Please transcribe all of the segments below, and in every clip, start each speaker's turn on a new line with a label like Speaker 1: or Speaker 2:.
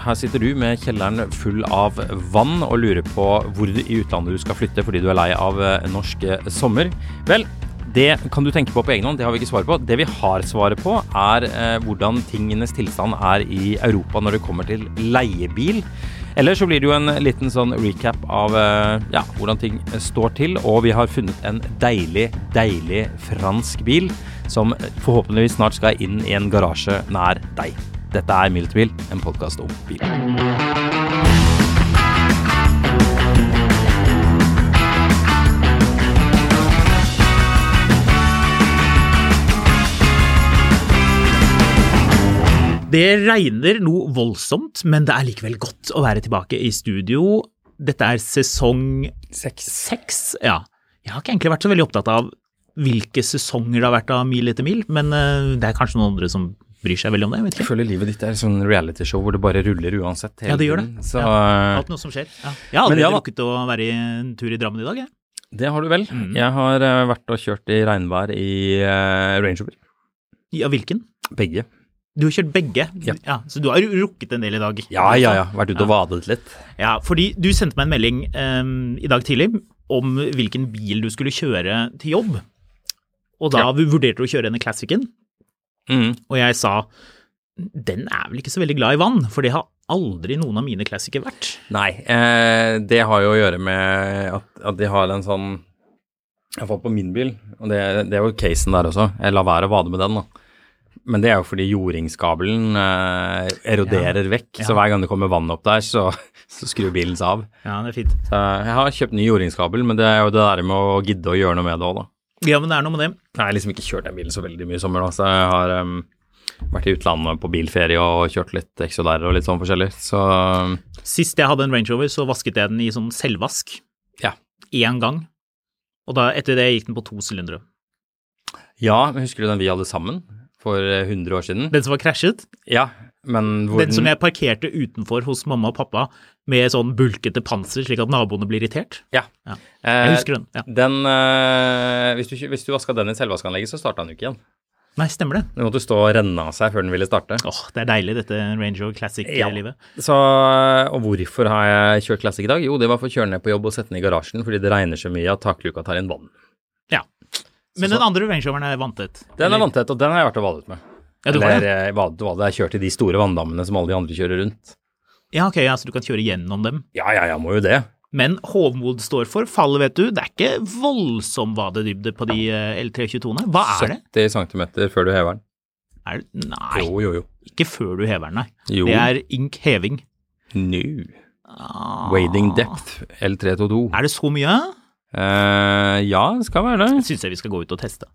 Speaker 1: Her sitter du med kjelleren full av vann og lurer på hvor i utlandet du skal flytte fordi du er lei av eh, norsk eh, sommer. Vel, det kan du tenke på på egen hånd, det har vi ikke svar på. Det vi har svaret på, er eh, hvordan tingenes tilstand er i Europa når det kommer til leiebil. Eller så blir det jo en liten sånn recap av eh, ja, hvordan ting står til. Og vi har funnet en deilig, deilig fransk bil som forhåpentligvis snart skal inn i en garasje nær deg. Dette er Miltbil, en podkast om bil.
Speaker 2: Det regner noe voldsomt, men det er likevel godt å være tilbake i studio. Dette er sesong
Speaker 3: Seks.
Speaker 2: seks. Ja. Jeg har ikke egentlig vært så veldig opptatt av hvilke sesonger det har vært av Mil etter mil, men eh, det er kanskje noen andre som bryr seg veldig om det. jeg vet
Speaker 1: Jeg
Speaker 2: ikke.
Speaker 1: føler livet ditt er et sånn realityshow hvor det bare ruller uansett. hele
Speaker 2: Ja, det gjør det.
Speaker 1: tiden. Så eh,
Speaker 2: Ja. Alt noe som skjer. Ja. Jeg har
Speaker 1: Men
Speaker 2: allerede
Speaker 1: ja da.
Speaker 2: rukket å være i en tur i Drammen i dag, jeg.
Speaker 1: det har du vel.
Speaker 2: Mm.
Speaker 1: Jeg har eh, vært og kjørt i regnvær i eh, Range Rover.
Speaker 2: Ja, hvilken?
Speaker 1: Begge.
Speaker 2: Du har kjørt begge,
Speaker 1: Ja.
Speaker 2: så du har rukket en del i dag.
Speaker 1: Ja, ja, ja. Vært ute og vadet litt.
Speaker 2: Ja, fordi du sendte meg en melding em, i dag tidlig om hvilken bil du skulle kjøre til jobb. Og da
Speaker 1: Ja.
Speaker 2: vurderte du å kjøre denne Classicen,
Speaker 1: Mm.
Speaker 2: og jeg sa den er vel ikke så veldig glad i vann, for det har aldri noen av mine Classicer vært.
Speaker 1: Nei, eh, det har jo å gjøre med at, at de har en sånn Iallfall på min bil, og det, det er jo casen der også. Jeg lar være å vade med den, da. Men det er jo fordi jordingskabelen eh, eroderer vekk, så hver gang det kommer vann opp der, så, så skrur bilen seg av.
Speaker 2: Ja, det er fint.
Speaker 1: Så jeg har kjøpt ny jordingskabel, men det er jo det der med å gidde å gjøre noe med det òg, da.
Speaker 2: Ja, men det er noe med det.
Speaker 1: Jeg har liksom ikke kjørt den bilen så veldig mye i sommer, da, så jeg har em, vært i utlandet på bilferie og kjørt litt ekstra der og litt sånn forskjellig. Så um,
Speaker 2: Sist jeg hadde en Range Rover, så vasket jeg den i sånn selvvask.
Speaker 1: Ja.
Speaker 2: Én gang. Og da, etter det gikk den på to sylindere.
Speaker 1: ja, men husker du den vi hadde sammen for eh, 100 år siden?
Speaker 2: Den som var krasjet,
Speaker 1: Ja, men hvor
Speaker 2: den som jeg parkerte utenfor hos mamma og pappa med sånn bulkete panser, slik at naboene ble irritert.
Speaker 1: Ja.
Speaker 2: Ja.
Speaker 1: Eh,
Speaker 2: Jeg husker den. Ja.
Speaker 1: den, eh, hvis, du, ikke- hvis du vaska den i selvvaskanlegget, så starta den jo ikke igjen.
Speaker 2: Nei, stemmer det.
Speaker 1: Den måtte stå og renne av seg før den ville starte.
Speaker 2: Åh, det er deilig dette Range Rover Classic-livet.
Speaker 1: Så, eh, og hvorfor har jeg kjørt Classic i dag? Jo, det var for å kjøre ned på jobb og sette den i garasjen fordi det regner så mye at takluka tar inn vann.
Speaker 2: Ja. Men den andre Range Roveren er vanntett.
Speaker 1: Den er vanntett, og den har jeg vært og vadet med.
Speaker 2: Ja, du har
Speaker 1: Eller
Speaker 2: det?
Speaker 1: eh, vadet og vadet, jeg har kjørt i de store vanndammene som alle de andre kjører rundt.
Speaker 2: Ja, ok, ja, så du kan kjøre gjennom dem.
Speaker 1: Ja, ja, ja, må jo det.
Speaker 2: Men Hovmod står for fallet, vet du. Det er ikke voldsom vadedybde på de eh, L322-ene. Hva er
Speaker 1: 70
Speaker 2: det?
Speaker 1: cm før du hever den.
Speaker 2: Er det? Nei,
Speaker 1: Jo, jo, jo.
Speaker 2: ikke før du hever den, nei.
Speaker 1: Jo.
Speaker 2: Det er ink heving.
Speaker 1: New.
Speaker 2: Ah.
Speaker 1: Wading depth, L322.
Speaker 2: Er det så mye?
Speaker 1: Eh, ja, det skal være det.
Speaker 2: Syns jeg vi skal gå ut og teste.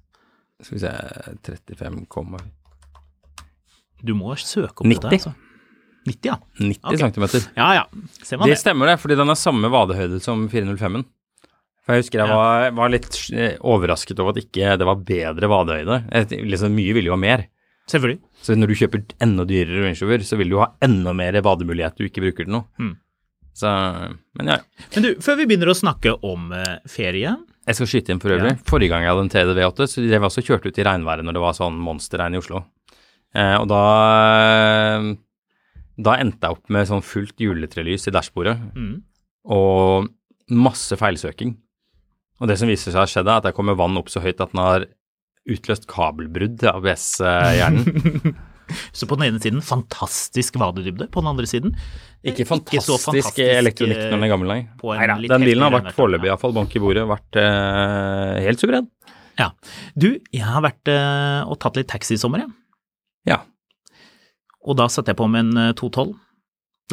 Speaker 1: Skal vi se 35,
Speaker 2: Du må søke om
Speaker 1: 90.
Speaker 2: dette. Altså. 90, ja.
Speaker 1: 90
Speaker 2: Ok.
Speaker 1: cm.
Speaker 2: Ja ja, ser man
Speaker 1: Det
Speaker 2: det.
Speaker 1: stemmer det, fordi den har samme vadehøyde som 405-en. For jeg husker jeg
Speaker 2: Ja.
Speaker 1: var, var litt eh, overrasket over at ikke det var bedre vadehøyde. Jeg- Liksom, mye ville jo ha mer.
Speaker 2: Selvfølgelig.
Speaker 1: Så når du kjøper enda dyrere Range Rover, så vil du ha enda mer vademulighet du ikke bruker til noe. Så, men ja, ja.
Speaker 2: Men du, før vi begynner å snakke om eh, ferie
Speaker 1: Jeg skal skyte inn for øvrig.
Speaker 2: Ja.
Speaker 1: Forrige gang jeg hadde en TDV8, så drev jeg også og kjørte ut i regnværet når det var sånn monsterregn i Oslo. Eh, og da da endte jeg opp med sånn fullt juletrelys i dashbordet
Speaker 2: Mm.
Speaker 1: og masse feilsøking. Og det som viser seg å ha skjedd, er at jeg kom med vann opp så høyt at den har utløst kabelbrudd til ABS-hjernen.
Speaker 2: Så på den ene siden fantastisk vadedybde, på den andre siden eh,
Speaker 1: Ikke fantastisk,
Speaker 2: så fantastisk, eh,
Speaker 1: elektronikk når den er gammel, nei.
Speaker 2: på en
Speaker 1: Neida,
Speaker 2: litt
Speaker 1: den bilen har
Speaker 2: heftig
Speaker 1: vært
Speaker 2: grønn
Speaker 1: foreløpig,
Speaker 2: versjon,
Speaker 1: iallfall, bank i bordet, vært eh, helt suveren.
Speaker 2: Ja. Du, jeg har vært eh, og tatt litt taxi i sommer, jeg.
Speaker 1: Ja.
Speaker 2: Og da satte jeg på med en eh, 212.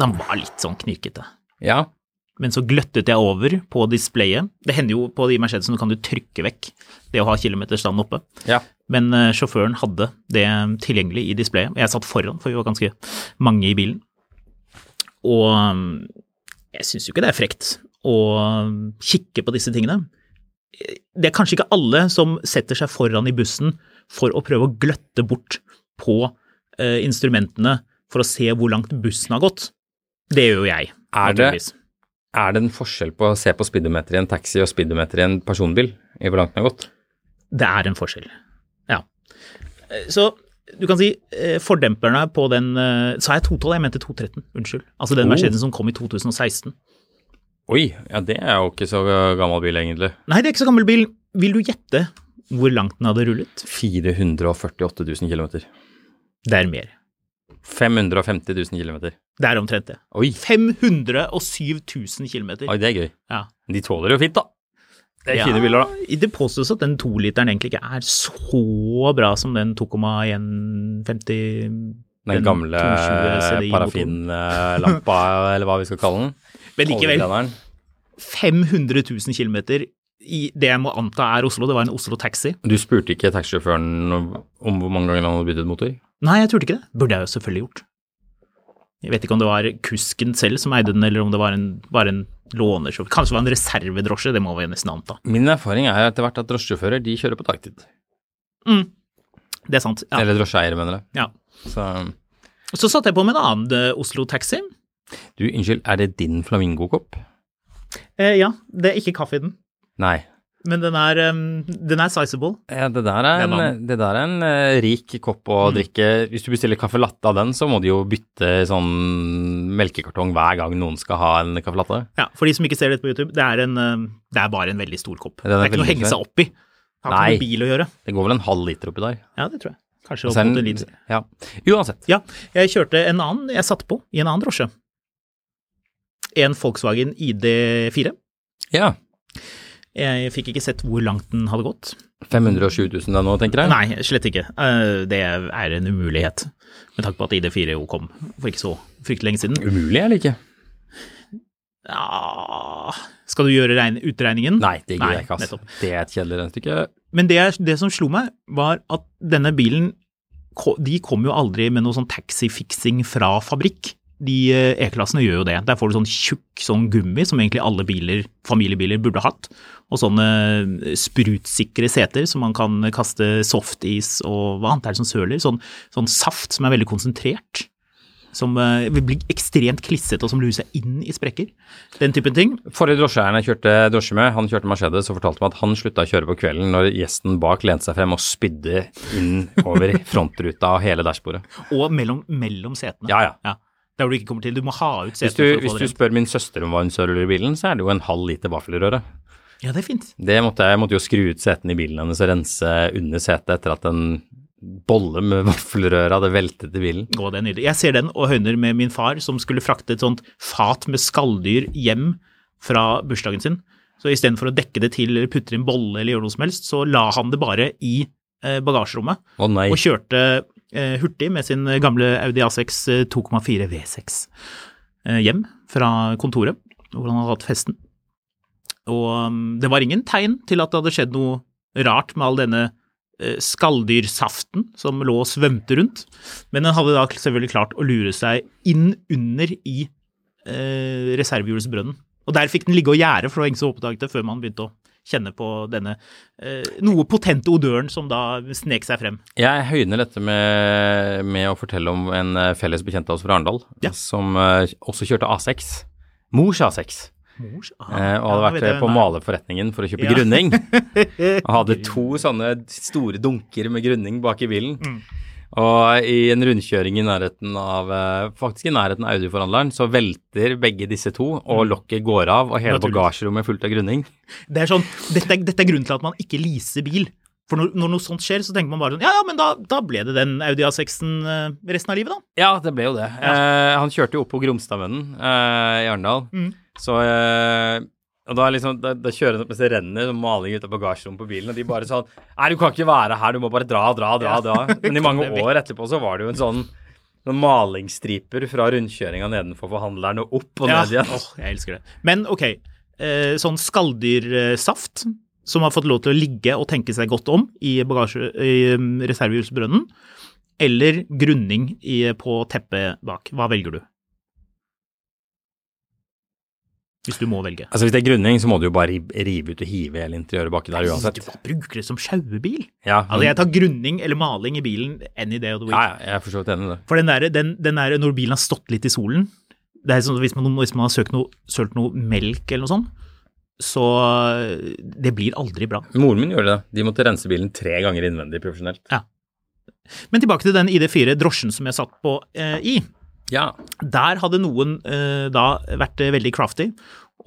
Speaker 2: Den var litt sånn knirkete.
Speaker 1: Ja.
Speaker 2: Men så gløttet jeg over på displayet. Det hender jo på de Mercedesene kan du trykke vekk det å ha kilometerstand oppe.
Speaker 1: Ja.
Speaker 2: Men eh, sjåføren hadde det tilgjengelig i displayet. Jeg satt foran, for vi var ganske mange i bilen. Og mm, jeg syns jo ikke det er frekt å mm, kikke på disse tingene. Det er kanskje ikke alle som setter seg foran i bussen for å prøve å gløtte bort på eh, instrumentene for å se hvor langt bussen har gått. Det gjør jo jeg.
Speaker 1: Er det-
Speaker 2: naturligvis.
Speaker 1: Er det en forskjell på å se på speedometer i en taxi og speedometer i en personbil? I hvor langt den har gått?
Speaker 2: Det er en forskjell, ja. Eh, Så du kan si eh, fordemperne på den eh, Sa jeg 212? Jeg mente 213, unnskyld. Altså den
Speaker 1: Oh.
Speaker 2: Mercedesen som kom i 2016.
Speaker 1: Oi, ja det er jo ikke så gammel bil egentlig.
Speaker 2: Nei, det er ikke så gammel bil. Vil du gjette hvor langt den hadde rullet?
Speaker 1: 448 000 km.
Speaker 2: Det er mer.
Speaker 1: 550 000 km.
Speaker 2: Det er omtrent det.
Speaker 1: Oi,
Speaker 2: 507 000 km.
Speaker 1: oi, det er gøy.
Speaker 2: Ja.
Speaker 1: De tåler jo fint, da. Det er
Speaker 2: Ja,
Speaker 1: fine biler, da.
Speaker 2: Det påstås at den toliteren egentlig ikke er så bra som den 2,150
Speaker 1: Den, E gamle
Speaker 2: 220 CDI -motoren.
Speaker 1: parafinlampa, eller hva vi skal kalle den.
Speaker 2: Men likevel,
Speaker 1: Oljebrenneren.
Speaker 2: 500 000 km i det jeg må anta er Oslo. Det var en Oslo Taxi.
Speaker 1: Du spurte ikke taxisjåføren om om hvor mange ganger han hadde byttet motor?
Speaker 2: Nei, jeg turte ikke det. Burde jeg jo selvfølgelig gjort. Jeg vet ikke om det var kusken selv som eide den, eller om det var en, var en lånesjåfør. Kanskje det var en reservedrosje, det må vi nesten anta.
Speaker 1: Min erfaring er etter hvert at drosjesjåfører de kjører på dagtid.
Speaker 2: Det er sant. Ja.
Speaker 1: Eller drosjeeiere, mener jeg.
Speaker 2: ja.
Speaker 1: Så
Speaker 2: Så satte jeg på med en annen eh, Oslo-taxi.
Speaker 1: du, unnskyld, er det din flamingokopp?
Speaker 2: Eh, ja, det er ikke kaffe i den,
Speaker 1: Nei.
Speaker 2: men den er, um, den er sizable.
Speaker 1: Ja, det der er
Speaker 2: Det er Mm.
Speaker 1: en,
Speaker 2: vann.
Speaker 1: det der er en eh, rik kopp å drikke. Hvis du bestiller caffè latte av den, så må de jo bytte sånn melkekartong hver gang noen skal ha en caffè latte.
Speaker 2: Ja, For de som ikke ser dette på YouTube, det er, en, eh, det er bare en veldig stor kopp.
Speaker 1: Den
Speaker 2: det
Speaker 1: er
Speaker 2: er ikke noe å
Speaker 1: veldig
Speaker 2: henge
Speaker 1: svær.
Speaker 2: seg opp i. Det har
Speaker 1: Nei.
Speaker 2: ikke noe bil å gjøre.
Speaker 1: Det går vel en halv liter oppi der.
Speaker 2: Ja, det tror jeg. Kanskje
Speaker 1: Og
Speaker 2: opp
Speaker 1: så er
Speaker 2: mot en
Speaker 1: den-
Speaker 2: liter.
Speaker 1: ja. Uansett.
Speaker 2: Ja, jeg kjørte en annen jeg satt på i en annen drosje. En Volkswagen ID4.
Speaker 1: Ja.
Speaker 2: Jeg fikk ikke sett hvor langt den hadde gått.
Speaker 1: 507 000 er nå, tenker jeg.
Speaker 2: Nei, slett ikke. Eh, Det er en umulighet, med tanke på at ID4 jo kom for ikke så fryktelig lenge siden.
Speaker 1: Umulig eller ikke?
Speaker 2: Ja, skal du gjøre regn- utregningen?
Speaker 1: Nei, det gidder jeg ikke, ass.
Speaker 2: nettopp.
Speaker 1: Det er et kjedelig regnestykke.
Speaker 2: Men det, er- det som slo meg, var at denne bilen ko- De kom jo aldri med noe sånn taxifiksing fra fabrikk. De eh, E-klassene gjør jo det. Der får du sånn tjukk sånn gummi som egentlig alle biler, familiebiler burde hatt. Og sånne eh, sprutsikre seter som man kan kaste softis og hva annet er det som søler? Sånn, sånn saft som er veldig konsentrert. Som eh, vil bli ekstremt klissete og som lurer seg inn i sprekker. Den typen ting.
Speaker 1: Forrige drosjeeieren jeg kjørte drosje med, han kjørte Mercedes og fortalte meg at han slutta å kjøre på kvelden når gjesten bak lente seg frem og spydde inn over frontruta og hele dashbordet.
Speaker 2: Og mellom, mellom setene.
Speaker 1: Ja, ja.
Speaker 2: Der hvor du ikke kommer til. Du må ha ut
Speaker 1: Hvis
Speaker 2: setene.
Speaker 1: du,
Speaker 2: for å få
Speaker 1: hvis
Speaker 2: det
Speaker 1: du
Speaker 2: rent.
Speaker 1: spør min søster om hva hun søler i bilen, så er det jo en halv liter vaffel i røret.
Speaker 2: Ja, det er fint.
Speaker 1: Det måtte jeg, jeg måtte jo skru ut setene i bilen hennes og rense under setet etter at en bolle med vaffelrør hadde veltet i bilen.
Speaker 2: Å, det er nydelig. Jeg ser den og høyner med min far, som skulle frakte et sånt fat med skalldyr hjem fra bursdagen sin. Så istedenfor å dekke det til eller putte i en bolle eller gjøre noe som helst, så la han det bare i eh, bagasjerommet
Speaker 1: Å nei.
Speaker 2: og kjørte eh, hurtig med sin gamle Audi A6 eh, 2,4 V6 eh, hjem fra kontoret, hvor han hadde hatt festen. Og mm, det var ingen tegn til at det hadde skjedd noe rart med all denne eh, skalldyrsaften som lå og svømte rundt, men den hadde da selvfølgelig klart å lure seg inn under i eh, reservehjulsbrønnen. Og der fikk den ligge og gjære, for det var ingen som oppdaget det før man begynte å kjenne på denne eh, noe potente odøren som da snek seg frem.
Speaker 1: Jeg høyner dette med, med å fortelle om en eh, felles bekjent av oss fra Arendal,
Speaker 2: Ja.
Speaker 1: som eh, også kjørte A6. Mors A6.
Speaker 2: Mors? Ah,
Speaker 1: Eh, og hadde
Speaker 2: ja,
Speaker 1: vært
Speaker 2: vet jeg
Speaker 1: eh, på
Speaker 2: hvem det
Speaker 1: malerforretningen for å kjøpe
Speaker 2: Ja.
Speaker 1: grunning.
Speaker 2: er.
Speaker 1: Og hadde to sånne store dunker med grunning bak i bilen.
Speaker 2: Mm.
Speaker 1: Og i en rundkjøring i nærheten av eh, faktisk i nærheten av Audi-forhandleren så velter begge disse to, og lokket går av, og hele
Speaker 2: Mm. Naturligvis.
Speaker 1: bagasjerommet er fullt av grunning.
Speaker 2: Det er sånn, dette, er- dette er grunnen til at man ikke leaser bil. For når, når noe sånt skjer, så tenker man bare sånn Ja, ja, men da, da ble det den Audi A6-en eh, resten av livet, da.
Speaker 1: Ja, det ble jo det. Eh, han kjørte jo opp på Gromstadvennen eh, i Arendal. Så eh, og da, er liksom, da, da kjører han opp mens det renner sånn maling ut av bagasjerommet på bilen, og de bare sånn Nei, du kan ikke være her, du må bare dra, dra, dra.
Speaker 2: Ja.
Speaker 1: dra. Men i mange
Speaker 2: Kom deg
Speaker 1: år etterpå så var det jo en sånn noen malingsstriper fra rundkjøringa nedenfor forhandleren og opp og ned igjen.
Speaker 2: Åh, jeg elsker det. Men ok, eh, sånn skalldyrsaft eh, som har fått lov til å ligge og tenke seg godt om i, bagasje, i um, reservehjulsbrønnen, eller grunning i, på teppet bak. Hva velger du? Hvis du må velge.
Speaker 1: Altså Hvis det er grunning, så må du jo bare rive, rive ut og hive hele interiøret baki der uansett.
Speaker 2: Du bare bruker det som sjauebil.
Speaker 1: Ja,
Speaker 2: Altså, jeg tar grunning eller maling i bilen any day of the week.
Speaker 1: ja, ja, jeg er for så vidt enig i det.
Speaker 2: For den der, den, den der når bilen har stått litt i solen det er sånn, hvis, man, hvis man har søkt noe, sølt noe melk eller noe sånt, så eh, det blir aldri bra.
Speaker 1: Moren min gjorde det. De måtte rense bilen tre ganger innvendig profesjonelt.
Speaker 2: Men tilbake til den ID4 drosjen som jeg satt på eh, i.
Speaker 1: Ja.
Speaker 2: Der hadde noen eh, da vært eh, veldig crafty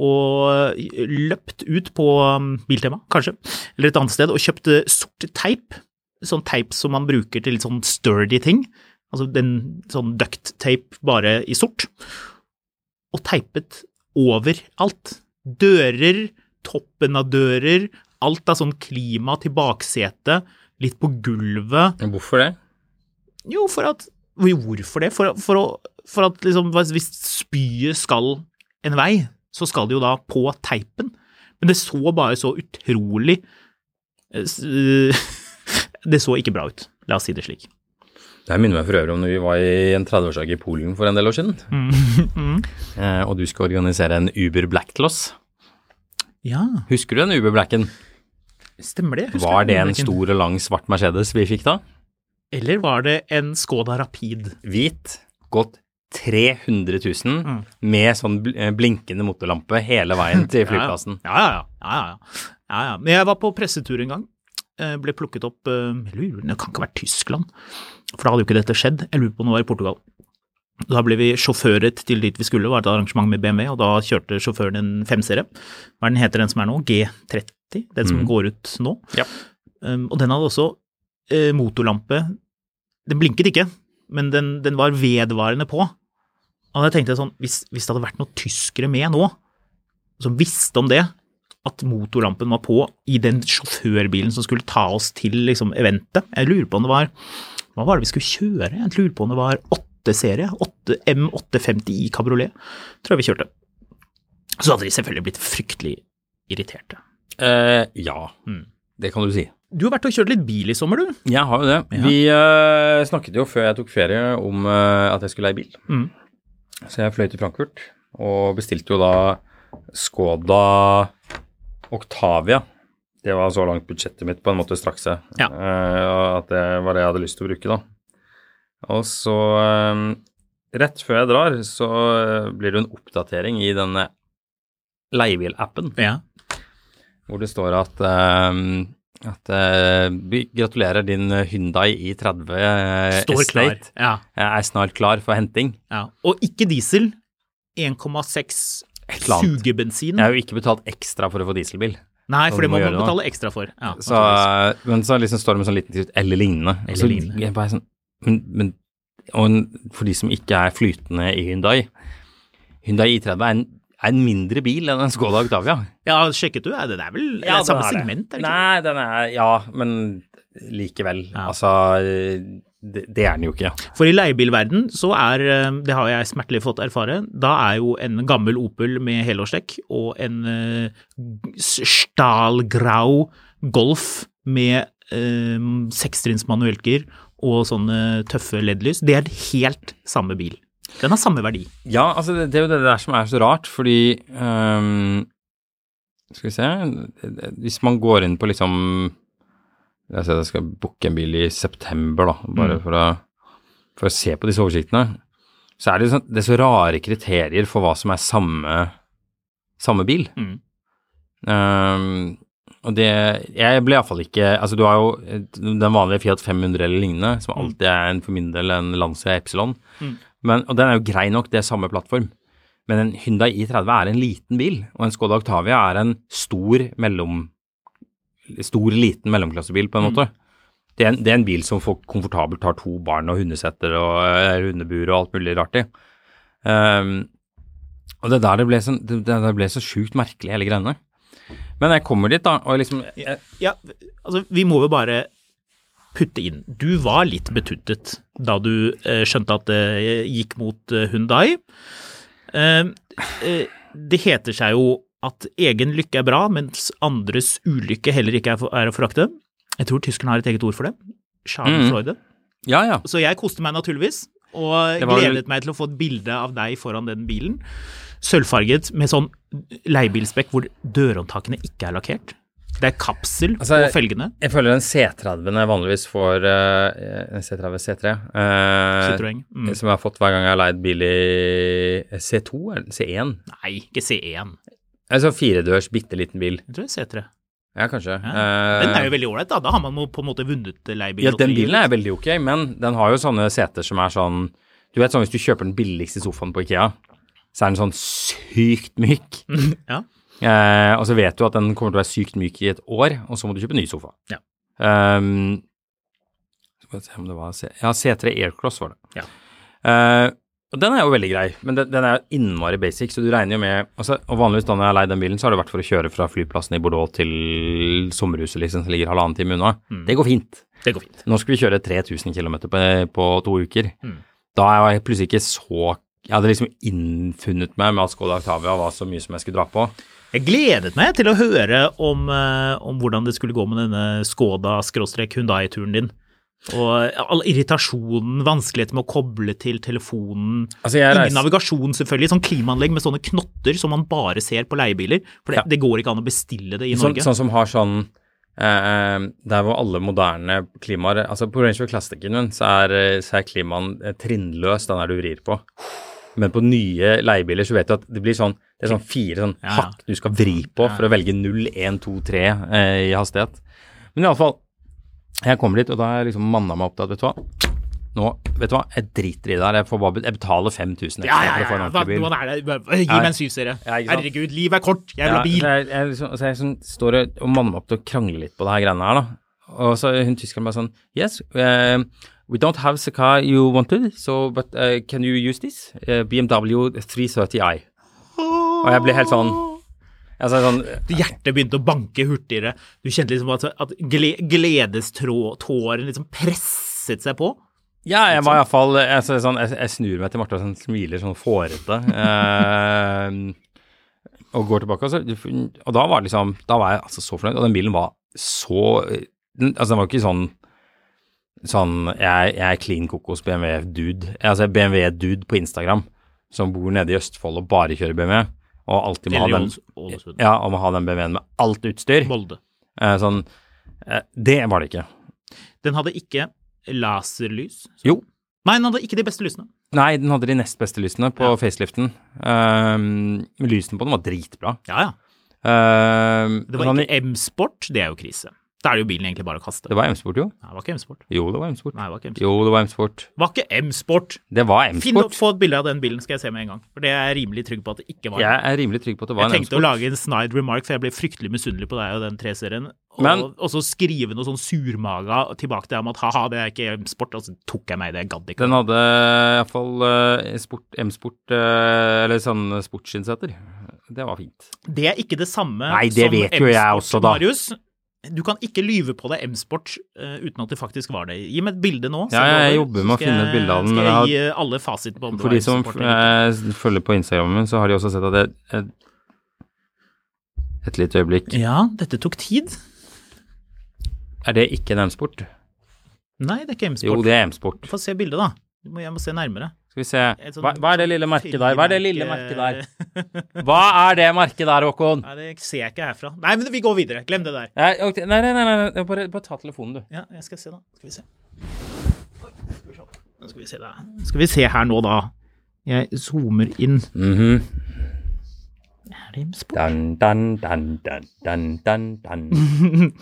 Speaker 2: og løpt ut på um, Biltema, kanskje, eller et annet sted, og kjøpt eh, sort teip. Sånn teip som man bruker til litt sånn sturdy ting. Altså den sånn duct tape bare i sort. Og teipet over alt. Dører, toppen av dører, alt av sånn klima til baksetet, litt på gulvet.
Speaker 1: Hvorfor det?
Speaker 2: Jo, for at jo, Hvorfor det? For, for, å, for at liksom, hvis spyet skal en vei, så skal det jo da på teipen. Men det så bare så utrolig eh, s- eh, Det så ikke bra ut. La oss si det slik.
Speaker 1: Det her minner meg for øvrig om når vi var i en 30-årsdag i Polen for en del år siden.
Speaker 2: Mm.
Speaker 1: Eh, og du skal organisere en Uber Black-kloss.
Speaker 2: Ja,
Speaker 1: Husker du den Uber Blacken?
Speaker 2: stemmer det? Husker
Speaker 1: Var
Speaker 2: du
Speaker 1: det en
Speaker 2: Ulrikken?
Speaker 1: stor og lang svart Mercedes vi fikk da?
Speaker 2: Eller var det en Skoda Rapid?
Speaker 1: Hvit, gått 300 000 med sånn bl- eh, blinkende motorlampe hele veien til flyplassen.
Speaker 2: Mm. Ja, ja, ja. ja, ja, ja. ja, ja. Men jeg var på pressetur en gang. Eh, Ble plukket opp eh, jeg lurer, Det kan ikke ha vært Tyskland, for da hadde jo ikke dette skjedd. Jeg lurer på om det var i Portugal. Da ble vi sjåføret til dit vi skulle, var et arrangement med BMW, og da kjørte sjåføren en 5-serie. Hva er den heter den som er nå? G30? Den som
Speaker 1: Mm.
Speaker 2: går ut nå.
Speaker 1: Ja.
Speaker 2: Um, og den hadde også eh, motorlampe. Den blinket ikke, men den, den var vedvarende på. Og da tenkte jeg sånn, hvis, hvis det hadde vært noen tyskere med nå, som visste om det, at motorlampen var på i den sjåførbilen som skulle ta oss til liksom, eventet. Jeg lurer på om det var Hva var det vi skulle kjøre? Jeg lurer på om det var 8-serie. 8 M850i kabriolet. Tror jeg vi kjørte. Så hadde de selvfølgelig blitt fryktelig irriterte.
Speaker 1: Eh, ja,
Speaker 2: Mm.
Speaker 1: det kan du si.
Speaker 2: Du har vært og kjørt litt bil i sommer, du.
Speaker 1: Jeg har jo det.
Speaker 2: Ja.
Speaker 1: Vi eh, snakket jo før jeg tok ferie om eh, at jeg skulle leie bil.
Speaker 2: Mm.
Speaker 1: Så jeg fløy til Frankfurt og bestilte jo da Skoda Octavia. Det var så langt budsjettet mitt på en måte strakk seg.
Speaker 2: Ja.
Speaker 1: eh, at det var det jeg hadde lyst til å bruke, da. Og så eh, Rett før jeg drar, så eh, blir det jo en oppdatering i denne leiebilappen
Speaker 2: Ja.
Speaker 1: hvor det står at, eh, at eh, vi gratulerer, din Hyundai i30 eh,
Speaker 2: Står klar.
Speaker 1: Estate
Speaker 2: Ja,
Speaker 1: eh, er snart klar for henting.
Speaker 2: ja. Og ikke diesel. 1,6
Speaker 1: Et eller annet.
Speaker 2: sugebensin.
Speaker 1: Jeg har jo ikke betalt ekstra for å få dieselbil.
Speaker 2: Nei, for
Speaker 1: Som
Speaker 2: det må
Speaker 1: du må
Speaker 2: man
Speaker 1: gjøre nå.
Speaker 2: betale ekstra for. Ja,
Speaker 1: Så, men så liksom står det med sånn liten skrift 'eller lignende'.
Speaker 2: Eller
Speaker 1: så,
Speaker 2: lignende.
Speaker 1: Jeg bare sånn, men, men, og en, for de som ikke er flytende i Hyundai Hyundai i30 er en, er en mindre bil enn en Skoda Octavia.
Speaker 2: ja, sjekket du? Ja, det er vel det er samme segment? Er det ikke?
Speaker 1: Nei, den er Ja, men likevel.
Speaker 2: Ja.
Speaker 1: Altså det, det er den jo ikke.
Speaker 2: For i leiebilverden så er, eh, det har jeg smertelig fått erfare, da er jo en gammel Opel med helårsdekk og en eh, s- Stahlgrau Golf med eh, sekstrinns manuellgir og sånne tøffe LED-lys, det er helt samme bil. Den har samme verdi.
Speaker 1: Ja, altså det, det er jo det der som er så rart, fordi ehm, Skal vi se Hvis man går inn på liksom Jeg ser jeg skal booke en bil i september, da, bare for, å, for å se på disse oversiktene. så er det, sånn, det er så rare kriterier for hva som er samme, samme bil.
Speaker 2: Mm.
Speaker 1: Ehm, og det Jeg ble iallfall ikke Altså, du har jo et- den vanlige Fiat 500 eller lignende, som alltid er en, for min del en Lancia Epsilon. Men, og den er jo grei nok, det er samme plattform. Men en Hyundai i30 er en liten bil, og en Skoda Octavia er en stor mellom stor, liten mellomklassebil, på en måte. Det er en, det er en bil som folk komfortabelt har to barn og hundesetter og eh, hundebur og alt mulig rart i. Ehm, og det der det ble, sånn, det, det der ble så sjukt merkelig, hele greiene. Men jeg kommer dit, da, og liksom jeg,
Speaker 2: Ja, altså, vi må jo bare putte inn. Du var litt betuttet da du eh, skjønte at det gikk mot eh, Hyundai. Eh, eh, det heter seg jo at egen lykke er bra, mens andres ulykke heller ikke er, for, er å forakte. Jeg tror tyskerne har et eget ord for det. Schadenfreude.
Speaker 1: Ja, ja.
Speaker 2: Så jeg koste meg naturligvis, og
Speaker 1: Det var vel-
Speaker 2: gledet meg til å få et bilde av deg foran den bilen. Sølvfarget med sånn leiebilspekk hvor dørhåndtakene ikke er lakkert. Det er kapsel
Speaker 1: Altså,
Speaker 2: på felgene.
Speaker 1: Jeg føler den C30-en jeg vanligvis får eh, C30, C3 eh,
Speaker 2: Citroën. Mm.
Speaker 1: Som jeg har fått hver gang jeg har leid bil i C2 eller C1.
Speaker 2: Nei, ikke C1.
Speaker 1: Altså firedørs, bitte liten bil.
Speaker 2: Jeg tror det er C3.
Speaker 1: Ja, kanskje.
Speaker 2: Ja.
Speaker 1: Eh,
Speaker 2: Den er jo veldig ålreit, da. Da har man jo på en måte vunnet leiebil.
Speaker 1: Ja, den bilen er veldig ok, men den har jo sånne seter som er sånn Du vet sånn hvis du kjøper den billigste sofaen på Ikea, så er den sånn sykt myk.
Speaker 2: Ja.
Speaker 1: Eh, og så vet du at den kommer til å være sykt myk i et år, og så må du kjøpe en ny sofa.
Speaker 2: Ja.
Speaker 1: Ehm, skal vi se om det var C ja, C3 Aircross var det.
Speaker 2: Ja.
Speaker 1: Eh, og den er jo veldig grei, men den, den er jo innmari basic, så du regner jo med altså, Og vanligvis da når jeg har leid den bilen, så har det vært for å kjøre fra flyplassen i Bordeaux til sommerhuset, liksom, som ligger halvannen time unna.
Speaker 2: Mm.
Speaker 1: Det går fint.
Speaker 2: Det går fint.
Speaker 1: Nå skulle vi kjøre 3000 km på, på to uker. Da er jeg plutselig ikke så Jeg hadde liksom innfunnet meg med at Skoda Octavia var så mye som jeg skulle dra på.
Speaker 2: Jeg gledet meg til å høre om, eh, om hvordan det skulle gå med denne Skoda-Hundai-turen din. Og all irritasjonen, vanskeligheten med å koble til telefonen.
Speaker 1: Altså, jeg reiser-
Speaker 2: Ingen navigasjon, selvfølgelig. Sånn klimaanlegg med sånne knotter som man bare ser på leiebiler. For det,
Speaker 1: Ja.
Speaker 2: det går ikke an å bestille det i
Speaker 1: Sånn,
Speaker 2: Norge.
Speaker 1: sånn som har sånn eh, Der hvor alle moderne klimaer Altså på Range of Classicen min, så er, eh, så er klimaen eh, trinnløs, den der du vrir på. Men på nye leiebiler så vet du at det blir sånn Det er sånn fire sånn
Speaker 2: Ja, ja.
Speaker 1: hakk du skal vri på for å velge 0, 1, 2, 3 eh, i hastighet. Men iallfall Jeg kommer dit, og da har jeg liksom manna meg opp til at, vet du hva Nå, vet du hva, jeg driter i det her. Jeg, får bare, bet- jeg betaler 5000 ekstra
Speaker 2: ja, ja,
Speaker 1: for å
Speaker 2: ja.
Speaker 1: få en
Speaker 2: ja. Hva,
Speaker 1: ordentlig bil.
Speaker 2: hvordan er det? Gi meg en syv, serie.
Speaker 1: sånn- Ja, ikke sant?
Speaker 2: Herregud, livet er kort. Jeg vil
Speaker 1: Ja,
Speaker 2: ha bil.
Speaker 1: så jeg, jeg, liksom, så jeg sånn, står og og manner meg opp til å krangle litt på det her greiene her, da. Og så er hun tyskeren bare sånn Yes, eh, we don't have the car you wanted, so but eh, can you use this? Eh, BMW 330i. Og jeg ble helt sånn Jeg sa sånn
Speaker 2: Hjertet begynte å banke hurtigere. Du kjente liksom at, at gle- gledeståren liksom presset seg på.
Speaker 1: Ja, jeg var iallfall jeg, så- sånn, jeg, jeg snur meg til Marte og sånn, smiler sånn fårete. Eh, og går tilbake. Og, så, og da var det liksom Da var jeg altså så fornøyd. Og den bilen var så den, Altså, den var ikke sånn Sånn Jeg, jeg er clean kokos BMW-dude. Altså BMW-dude på Instagram som bor nede i Østfold og bare kjører BMW. Og alltid må ha
Speaker 2: Eller
Speaker 1: den,
Speaker 2: i Åles- Ålesund.
Speaker 1: ja, og må ha den BMW-en med alt utstyr.
Speaker 2: Molde.
Speaker 1: Eh, sånn eh, Det var det ikke.
Speaker 2: Den hadde ikke laserlys.
Speaker 1: Jo,
Speaker 2: Nei, den hadde ikke de beste lysene.
Speaker 1: Nei, den hadde de nest beste lysene på faceliften. Ehm, men lysene på den var dritbra.
Speaker 2: Ja, ja.
Speaker 1: Ehm,
Speaker 2: Det var
Speaker 1: sånn i-
Speaker 2: ikke M-sport, det er jo krise. Da er det jo bilen egentlig bare å kaste.
Speaker 1: det var M-sport, jo.
Speaker 2: Nei, det var ikke M-sport.
Speaker 1: Jo, det var M-sport.
Speaker 2: Nei, det var ikke M-sport.
Speaker 1: Jo, det var M-sport.
Speaker 2: Det var ikke M-sport.
Speaker 1: Det var
Speaker 2: Finn opp,
Speaker 1: M-sport.
Speaker 2: Få et bilde av den bilen, skal jeg se med en gang. For det er jeg rimelig trygg på at det ikke var.
Speaker 1: Jeg er rimelig trygg på at det var
Speaker 2: jeg
Speaker 1: en
Speaker 2: tenkte å
Speaker 1: M-sport.
Speaker 2: lage en snide remark, for jeg ble fryktelig misunnelig på deg og den 3-serien. Og,
Speaker 1: Men-
Speaker 2: og så skrive noe sånn surmaga tilbake til deg om at ha-ha, det er ikke M-sport. Og så tok jeg meg i det, jeg gadd ikke.
Speaker 1: Den hadde iallfall uh, sport, M-sport, eh, eller sånn sportsinnsetter. Det var fint.
Speaker 2: Det er ikke det samme
Speaker 1: Nei, det
Speaker 2: som
Speaker 1: vet jo jeg
Speaker 2: M-sport,
Speaker 1: også, da.
Speaker 2: Marius. Du kan ikke lyve på deg M-sport eh, uten at det faktisk var det. Gi meg et bilde nå.
Speaker 1: Ja,
Speaker 2: send
Speaker 1: jeg
Speaker 2: over,
Speaker 1: jobber
Speaker 2: så
Speaker 1: med å
Speaker 2: skal
Speaker 1: finne
Speaker 2: jeg-
Speaker 1: et bilde av den,
Speaker 2: Skal
Speaker 1: men
Speaker 2: jeg
Speaker 1: jeg
Speaker 2: gi eh, alle fasiten på om det
Speaker 1: For
Speaker 2: var
Speaker 1: de som
Speaker 2: M-sport eller ikke.
Speaker 1: eh, følger på Instagramen min, så har de også sett at jeg jeg- Et lite øyeblikk.
Speaker 2: Ja, dette tok tid.
Speaker 1: Er det ikke en M-sport?
Speaker 2: Nei, det er ikke
Speaker 1: Jo,
Speaker 2: M-sport.
Speaker 1: det er M-sport.
Speaker 2: Få se bildet, da. Du må- Jeg må se nærmere.
Speaker 1: Skal vi se.
Speaker 2: Et sånt-
Speaker 1: Hva, hva er det
Speaker 2: sånn
Speaker 1: lille merket der? Hva er det lille merket der?
Speaker 2: Filmmerke-
Speaker 1: Hva er det merket der, Håkon?
Speaker 2: Nei, det ser jeg ikke herfra. Nei, men vi går videre. Glem det der.
Speaker 1: Nei, ok, nei, nei, nei, nei, nei. Bare, bare ta telefonen, du.
Speaker 2: Ja, jeg skal se, da. Skal vi se. Oi, skal vi se. Nå skal vi se der. Skal vi se her nå, da. Jeg zoomer inn.
Speaker 1: Mhm.
Speaker 2: Er det spor?
Speaker 1: Dun, dun, dun, dun, dun, dun, dun.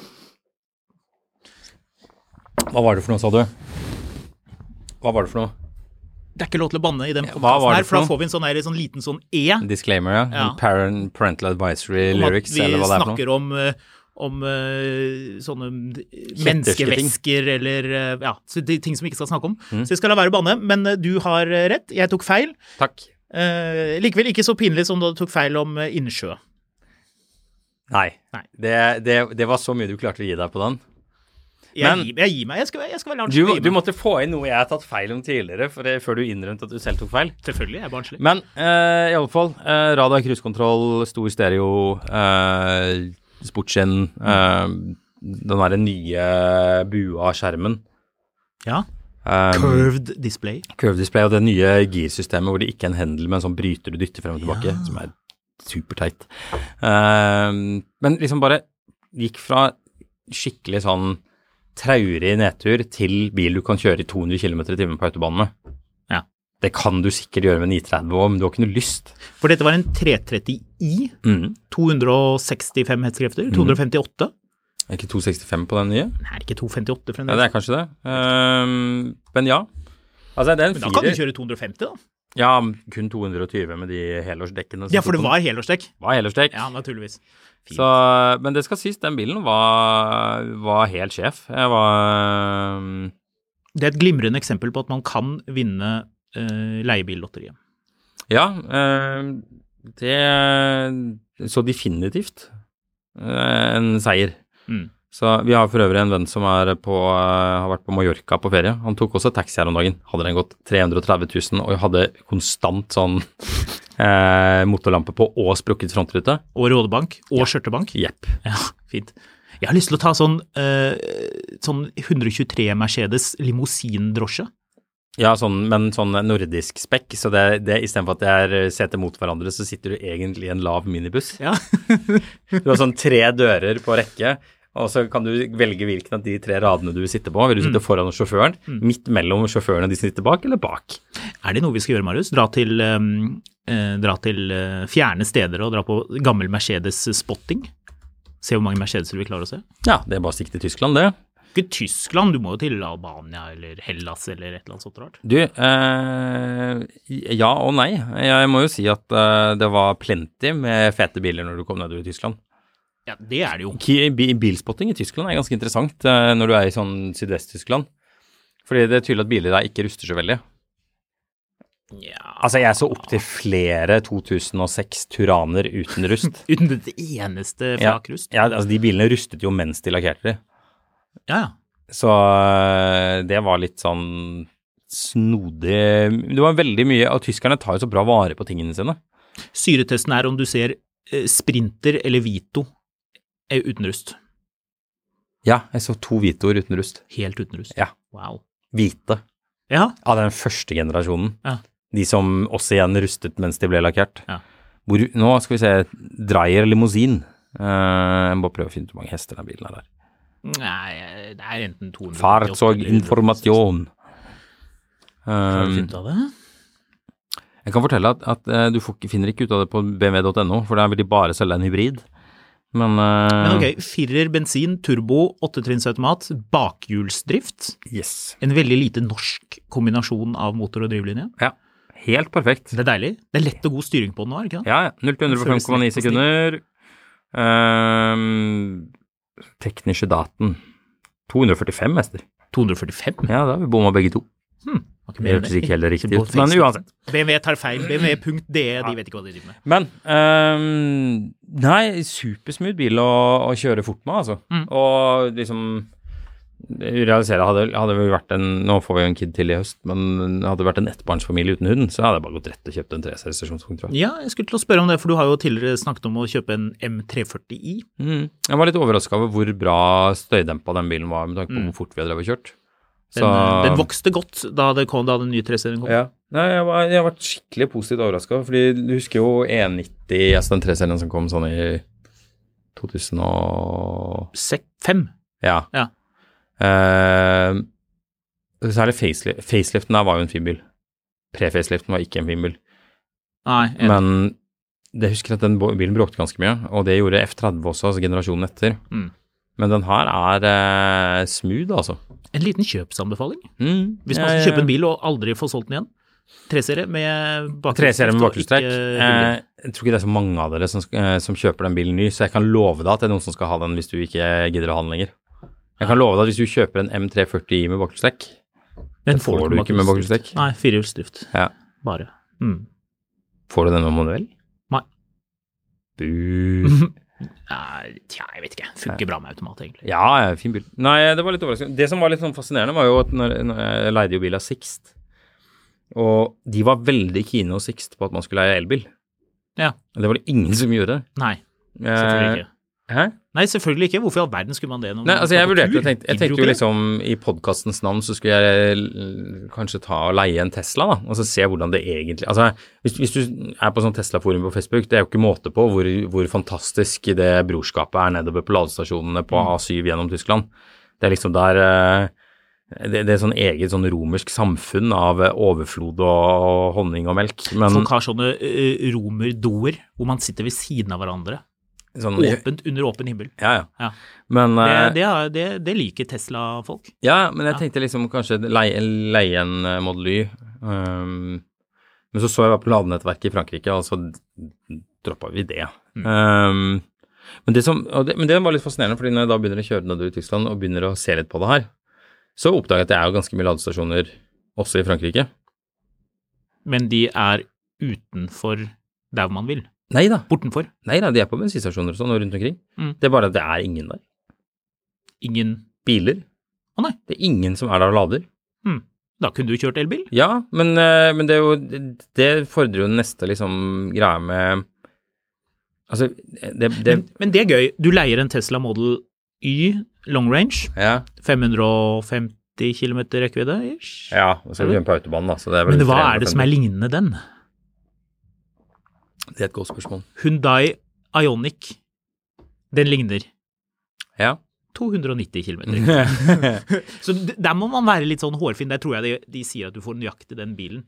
Speaker 1: Hva var det for noe, sa du? Hva var det for noe?
Speaker 2: Det er ikke lov til å banne i den
Speaker 1: hva var
Speaker 2: podkasten
Speaker 1: det
Speaker 2: her, for
Speaker 1: for
Speaker 2: da
Speaker 1: noe?
Speaker 2: får vi en sånn, her, sånn liten sånn E.
Speaker 1: Disclaimer, ja.
Speaker 2: Ja.
Speaker 1: Parent, parental advisory
Speaker 2: om
Speaker 1: lyrics,
Speaker 2: at vi
Speaker 1: eller hva det er for noe.
Speaker 2: snakker om, eh, om eh, sånne menneskevæsker eller eh, ja, så de ting som vi ikke skal snakke om.
Speaker 1: Mhm.
Speaker 2: Så jeg skal la være å banne, men eh, du har eh, rett, jeg tok feil.
Speaker 1: Takk.
Speaker 2: Eh, likevel ikke så pinlig som da du tok feil om eh, innsjø.
Speaker 1: Nei.
Speaker 2: Nei.
Speaker 1: Det, det, det var så mye du klarte å gi deg på den.
Speaker 2: Jeg,
Speaker 1: Men-
Speaker 2: gir, jeg gir meg, jeg skal, jeg skal være
Speaker 1: Du,
Speaker 2: barnslig. og gi
Speaker 1: du
Speaker 2: meg.
Speaker 1: måtte få inn noe jeg har tatt feil om tidligere, for det, før du innrømte at du selv tok feil.
Speaker 2: Selvfølgelig, jeg er barnslig.
Speaker 1: Men eh, i alle fall, eh, radar, cruisekontroll, stor stereo, eh, sportsskinn, eh, den derre nye bua av skjermen.
Speaker 2: Ja.
Speaker 1: Eh,
Speaker 2: Curved display.
Speaker 1: curve display og det nye girsystemet hvor det ikke er en hendel, men sånn bryter du dytter frem og tilbake, som er superteit. Ehm, men liksom bare gikk fra skikkelig sånn traurig nedtur til bil du kan kjøre i 200 km i timen på autobanen med.
Speaker 2: Ja.
Speaker 1: Det kan du sikkert gjøre med 930 òg, men du har ikke noe lyst.
Speaker 2: For dette var en 330i. 265
Speaker 1: Mhm.
Speaker 2: hestekrefter. 258.
Speaker 1: Er ikke 265 på den nye?
Speaker 2: Nei, ikke 258
Speaker 1: Ja, det
Speaker 2: fremdeles.
Speaker 1: er kanskje det. Ehm, men ja. Altså, det er en
Speaker 2: Men da kan du
Speaker 1: firer.
Speaker 2: kjøre 250, da.
Speaker 1: Altså, Ja, kun 220 med de helårsdekkene. som
Speaker 2: Ja, for det
Speaker 1: tok den.
Speaker 2: var helårsdekk.
Speaker 1: var helårsdekk.
Speaker 2: Ja, naturligvis. Fint.
Speaker 1: Så, men det skal sies, den bilen var, var helt sjef. Jeg var um,
Speaker 2: Det er et glimrende eksempel på at man kan vinne uh, leiebillotteriet.
Speaker 1: Ja, um, det Så definitivt eh, en seier.
Speaker 2: Mm.
Speaker 1: Så Vi har for øvrig en venn som er på, eh, har vært på Mallorca på ferie. Han tok også taxi her om dagen. Hadde den gått 330 000 og hadde konstant sånn eh, motorlampe på og sprukket frontrute.
Speaker 2: Og Rådebank og Skjørtebank.
Speaker 1: Jepp.
Speaker 2: Ja, fint. Jeg har lyst til å ta sånn, eh, sånn 123 Mercedes limousindrosje.
Speaker 1: Ja, sånn, men sånn nordisk spekk, så det, det istedenfor at det er eh, seter mot hverandre, så sitter du egentlig i en lav minibuss.
Speaker 2: Ja.
Speaker 1: Du har sånn tre dører på rekke, og så kan du velge hvilken av de tre radene du vil sitte på. Vil du sitte foran sjåføren, midt mellom sjåføren og de som sitter bak, eller bak?
Speaker 2: Er det noe vi skal gjøre, Marius? Dra til, eh, eh, dra til eh, fjerne steder og dra på gammel Mercedes-spotting? Se hvor mange Mercedeser vi klarer å se.
Speaker 1: Ja, det er bare å stikke til Tyskland, det.
Speaker 2: Ikke Tyskland, du må jo til Albania eller Hellas eller et eller annet sånt rart.
Speaker 1: Du, eh, ja og nei. Jeg må jo si at eh, det var plenty med fete biler når du kom nedover i Tyskland.
Speaker 2: Ja, det er det jo.
Speaker 1: Ki- bi- Bilspotting i Tyskland er ganske interessant eh, når du er i sånn Sydvest-Tyskland. Fordi det er tydelig at biler der ikke ruster så veldig.
Speaker 2: Ja.
Speaker 1: Altså, jeg så opptil flere 2006 Turaner uten rust.
Speaker 2: Uten det eneste
Speaker 1: Ja,
Speaker 2: frakrust.
Speaker 1: ja, altså, de bilene rustet jo mens de lakkerte de.
Speaker 2: Ja, ja.
Speaker 1: Så eh, det var litt sånn snodig Det var veldig mye Og tyskerne tar jo så bra vare på tingene sine.
Speaker 2: Syretesten er om du ser eh, Sprinter eller Vito eh, uten rust.
Speaker 1: Ja, jeg så to Vitoer uten rust.
Speaker 2: Helt uten rust.
Speaker 1: Ja.
Speaker 2: Wow.
Speaker 1: Hvite.
Speaker 2: Ja,
Speaker 1: Av den første generasjonen.
Speaker 2: Ja.
Speaker 1: De som også igjen rustet mens de ble lakkert.
Speaker 2: Ja.
Speaker 1: Hvor, nå skal vi se Dreyer limousin. Eh, jeg må prøve å finne ut hvor mange hester den bilen her er.
Speaker 2: nei, eh, det er enten 200
Speaker 1: Farzog information.
Speaker 2: Har du
Speaker 1: Um,
Speaker 2: funnet av det?
Speaker 1: jeg kan fortelle at, at eh, du får, ikke- finner ikke ut av det på bmw.no, for der vil de bare selge en hybrid. Men, eh,
Speaker 2: Men ok, firer bensin, turbo, åttetrinnsautomat, bakhjulsdrift.
Speaker 1: yes.
Speaker 2: En veldig lite norsk kombinasjon av motor og drivlinje.
Speaker 1: Ja, helt perfekt.
Speaker 2: Det er deilig. Det er lett og god styring på den nå, er det ikke det?
Speaker 1: Ja, ja. 0 til 100 på
Speaker 2: Føles lett
Speaker 1: 5,9
Speaker 2: og snill.
Speaker 1: sekunder. Um, tekniske daten. 245 hester.
Speaker 2: 245?
Speaker 1: Ja, da har vi bomma begge to.
Speaker 2: Var ikke
Speaker 1: Det
Speaker 2: liksom. mer enn
Speaker 1: hørtes ikke heller riktig ut,
Speaker 2: på
Speaker 1: men
Speaker 2: Facebook.
Speaker 1: uansett.
Speaker 2: BMW tar feil. BMW.de, E, de vet ikke hva de driver med.
Speaker 1: Men ehm, Nei, supersmooth bil å, å kjøre fort med, altså.
Speaker 2: Mm.
Speaker 1: Og liksom realisere hadde, hadde vi vært en Nå får vi jo en kid til i høst, men hadde det vært en ettbarnsfamilie uten hund, så hadde jeg bare gått rett og kjøpt en 3-serie stasjonsvogn, tror jeg.
Speaker 2: Ja, jeg skulle til å spørre om det, for du har jo tidligere snakket om å kjøpe en M340i.
Speaker 1: Mm. Jeg var litt overraska over hvor bra støydempa den bilen var, med tanke på hvor fort vi hadde drevet og kjørt.
Speaker 2: Mm. Den, eh, den vokste godt da, det kom, da den nye 3-serien kom.
Speaker 1: Ja. Nei, jeg, var, jeg har vært skikkelig positivt overraska. Fordi du husker jo E90, altså den 3-serien som kom sånn i 2000 og
Speaker 2: Se- Fem.
Speaker 1: Ja.
Speaker 2: Ja.
Speaker 1: Eh, særlig facelift. faceliften der var jo en fin bil. Pre-faceliften var ikke en fin bil.
Speaker 2: Nei, jeg,
Speaker 1: Men det husker jeg at den bo- bilen bråkte ganske mye, og det gjorde F30 også, altså generasjonen etter.
Speaker 2: Mm.
Speaker 1: Men den her er eh, smooth, altså.
Speaker 2: en liten kjøpsanbefaling.
Speaker 1: Mm,
Speaker 2: Hvis man
Speaker 1: jeg-
Speaker 2: skal kjøpe en bil og aldri få solgt den igjen. Treserie med bakhjulstrekk.
Speaker 1: Treserie med bakhjulstrekk.
Speaker 2: Ikke-
Speaker 1: Eh, jeg tror ikke det er så mange av dere som, sk- eh, som kjøper den bilen ny, så jeg kan love deg at det er noen som skal ha den hvis du ikke gidder å ha den lenger. Jeg kan love deg at hvis du kjøper en M340i med bakhjulstrekk,
Speaker 2: Den
Speaker 1: den får du ikke med bakhjulstrekk.
Speaker 2: Nei, firehjulsdrift.
Speaker 1: Ja.
Speaker 2: Bare. Mm.
Speaker 1: Får du den med manuell?
Speaker 2: Nei.
Speaker 1: Bu.
Speaker 2: Nei, tja, jeg vet ikke. Funker bra med automat, egentlig.
Speaker 1: Ja, ja, fin bil. Nei, det var litt overraskende. Det som var litt sånn fascinerende, var jo at når, når jeg leide jo bil av Sixt, og de var veldig kine hos Sixt på at man skulle leie elbil.
Speaker 2: Ja.
Speaker 1: Det var det ingen som gjorde.
Speaker 2: Nei, selvfølgelig ikke.
Speaker 1: Eh, hæ?
Speaker 2: Nei, selvfølgelig ikke. Hvorfor i all verden skulle man det? Når
Speaker 1: Nei,
Speaker 2: man
Speaker 1: altså
Speaker 2: skal
Speaker 1: jeg
Speaker 2: på
Speaker 1: vurderte
Speaker 2: tur?
Speaker 1: jo tenkte, Jeg
Speaker 2: Gidder
Speaker 1: tenkte
Speaker 2: du
Speaker 1: jo
Speaker 2: ikke det?
Speaker 1: liksom i podkastens navn så skulle jeg l- kanskje ta og leie en Tesla, da, og så se hvordan det egentlig Altså hvis, hvis du er på sånn Tesla-forum på Facebook, det er jo ikke måte på hvor, hvor fantastisk det brorskapet er nedover på ladestasjonene
Speaker 2: Mm.
Speaker 1: på A7 gjennom Tyskland. Det er liksom der eh, det, det er sånn eget sånn romersk samfunn av eh, overflod og, og honning og melk. Men
Speaker 2: Folk har sånne eh, romerdoer hvor man sitter ved siden av hverandre.
Speaker 1: sånn
Speaker 2: Åpent under åpen himmel.
Speaker 1: Ja, ja.
Speaker 2: Ja.
Speaker 1: Men,
Speaker 2: Det,
Speaker 1: eh,
Speaker 2: det, er- det, det liker Tesla-folk.
Speaker 1: Ja, men jeg tenkte liksom kanskje leie, leie en eh, Model Y. ehm, men så så jeg på ladenettverket i Frankrike, og så droppa vi det.
Speaker 2: Mm.
Speaker 1: Ehm, men, det som, og det, men det var litt fascinerende, fordi når jeg da begynner å kjøre nedover i Tyskland og begynner å se litt på det her, så oppdager jeg at det er jo ganske mye ladestasjoner også i Frankrike.
Speaker 2: Men de er utenfor der man vil.
Speaker 1: Nei da,
Speaker 2: Bortenfor.
Speaker 1: nei da, de er på bensinstasjoner og sånn og rundt omkring.
Speaker 2: Mm.
Speaker 1: Det er bare at det er ingen der.
Speaker 2: Ingen
Speaker 1: Biler.
Speaker 2: Å, nei.
Speaker 1: Det er ingen som er der og lader.
Speaker 2: Da kunne du kjørt elbil.
Speaker 1: Ja, men, eh, men det, er jo, det- det fordrer jo neste liksom, greie med Altså, det, det
Speaker 2: Men, men det er gøy. Du leier en Tesla Model Y long range.
Speaker 1: ja,
Speaker 2: 550 km rekkevidde ish.
Speaker 1: ja, og så skal vi kjøre på autobanen, da. Så det er vel
Speaker 2: Men hva er det som er lignende den?
Speaker 1: Det er et godt spørsmål.
Speaker 2: Hundai Ionic. Den ligner.
Speaker 1: Ja.
Speaker 2: 290 km.
Speaker 1: altså,
Speaker 2: Så d- der må man være litt sånn hårfin. Der tror jeg de, de sier at du får nøyaktig den bilen.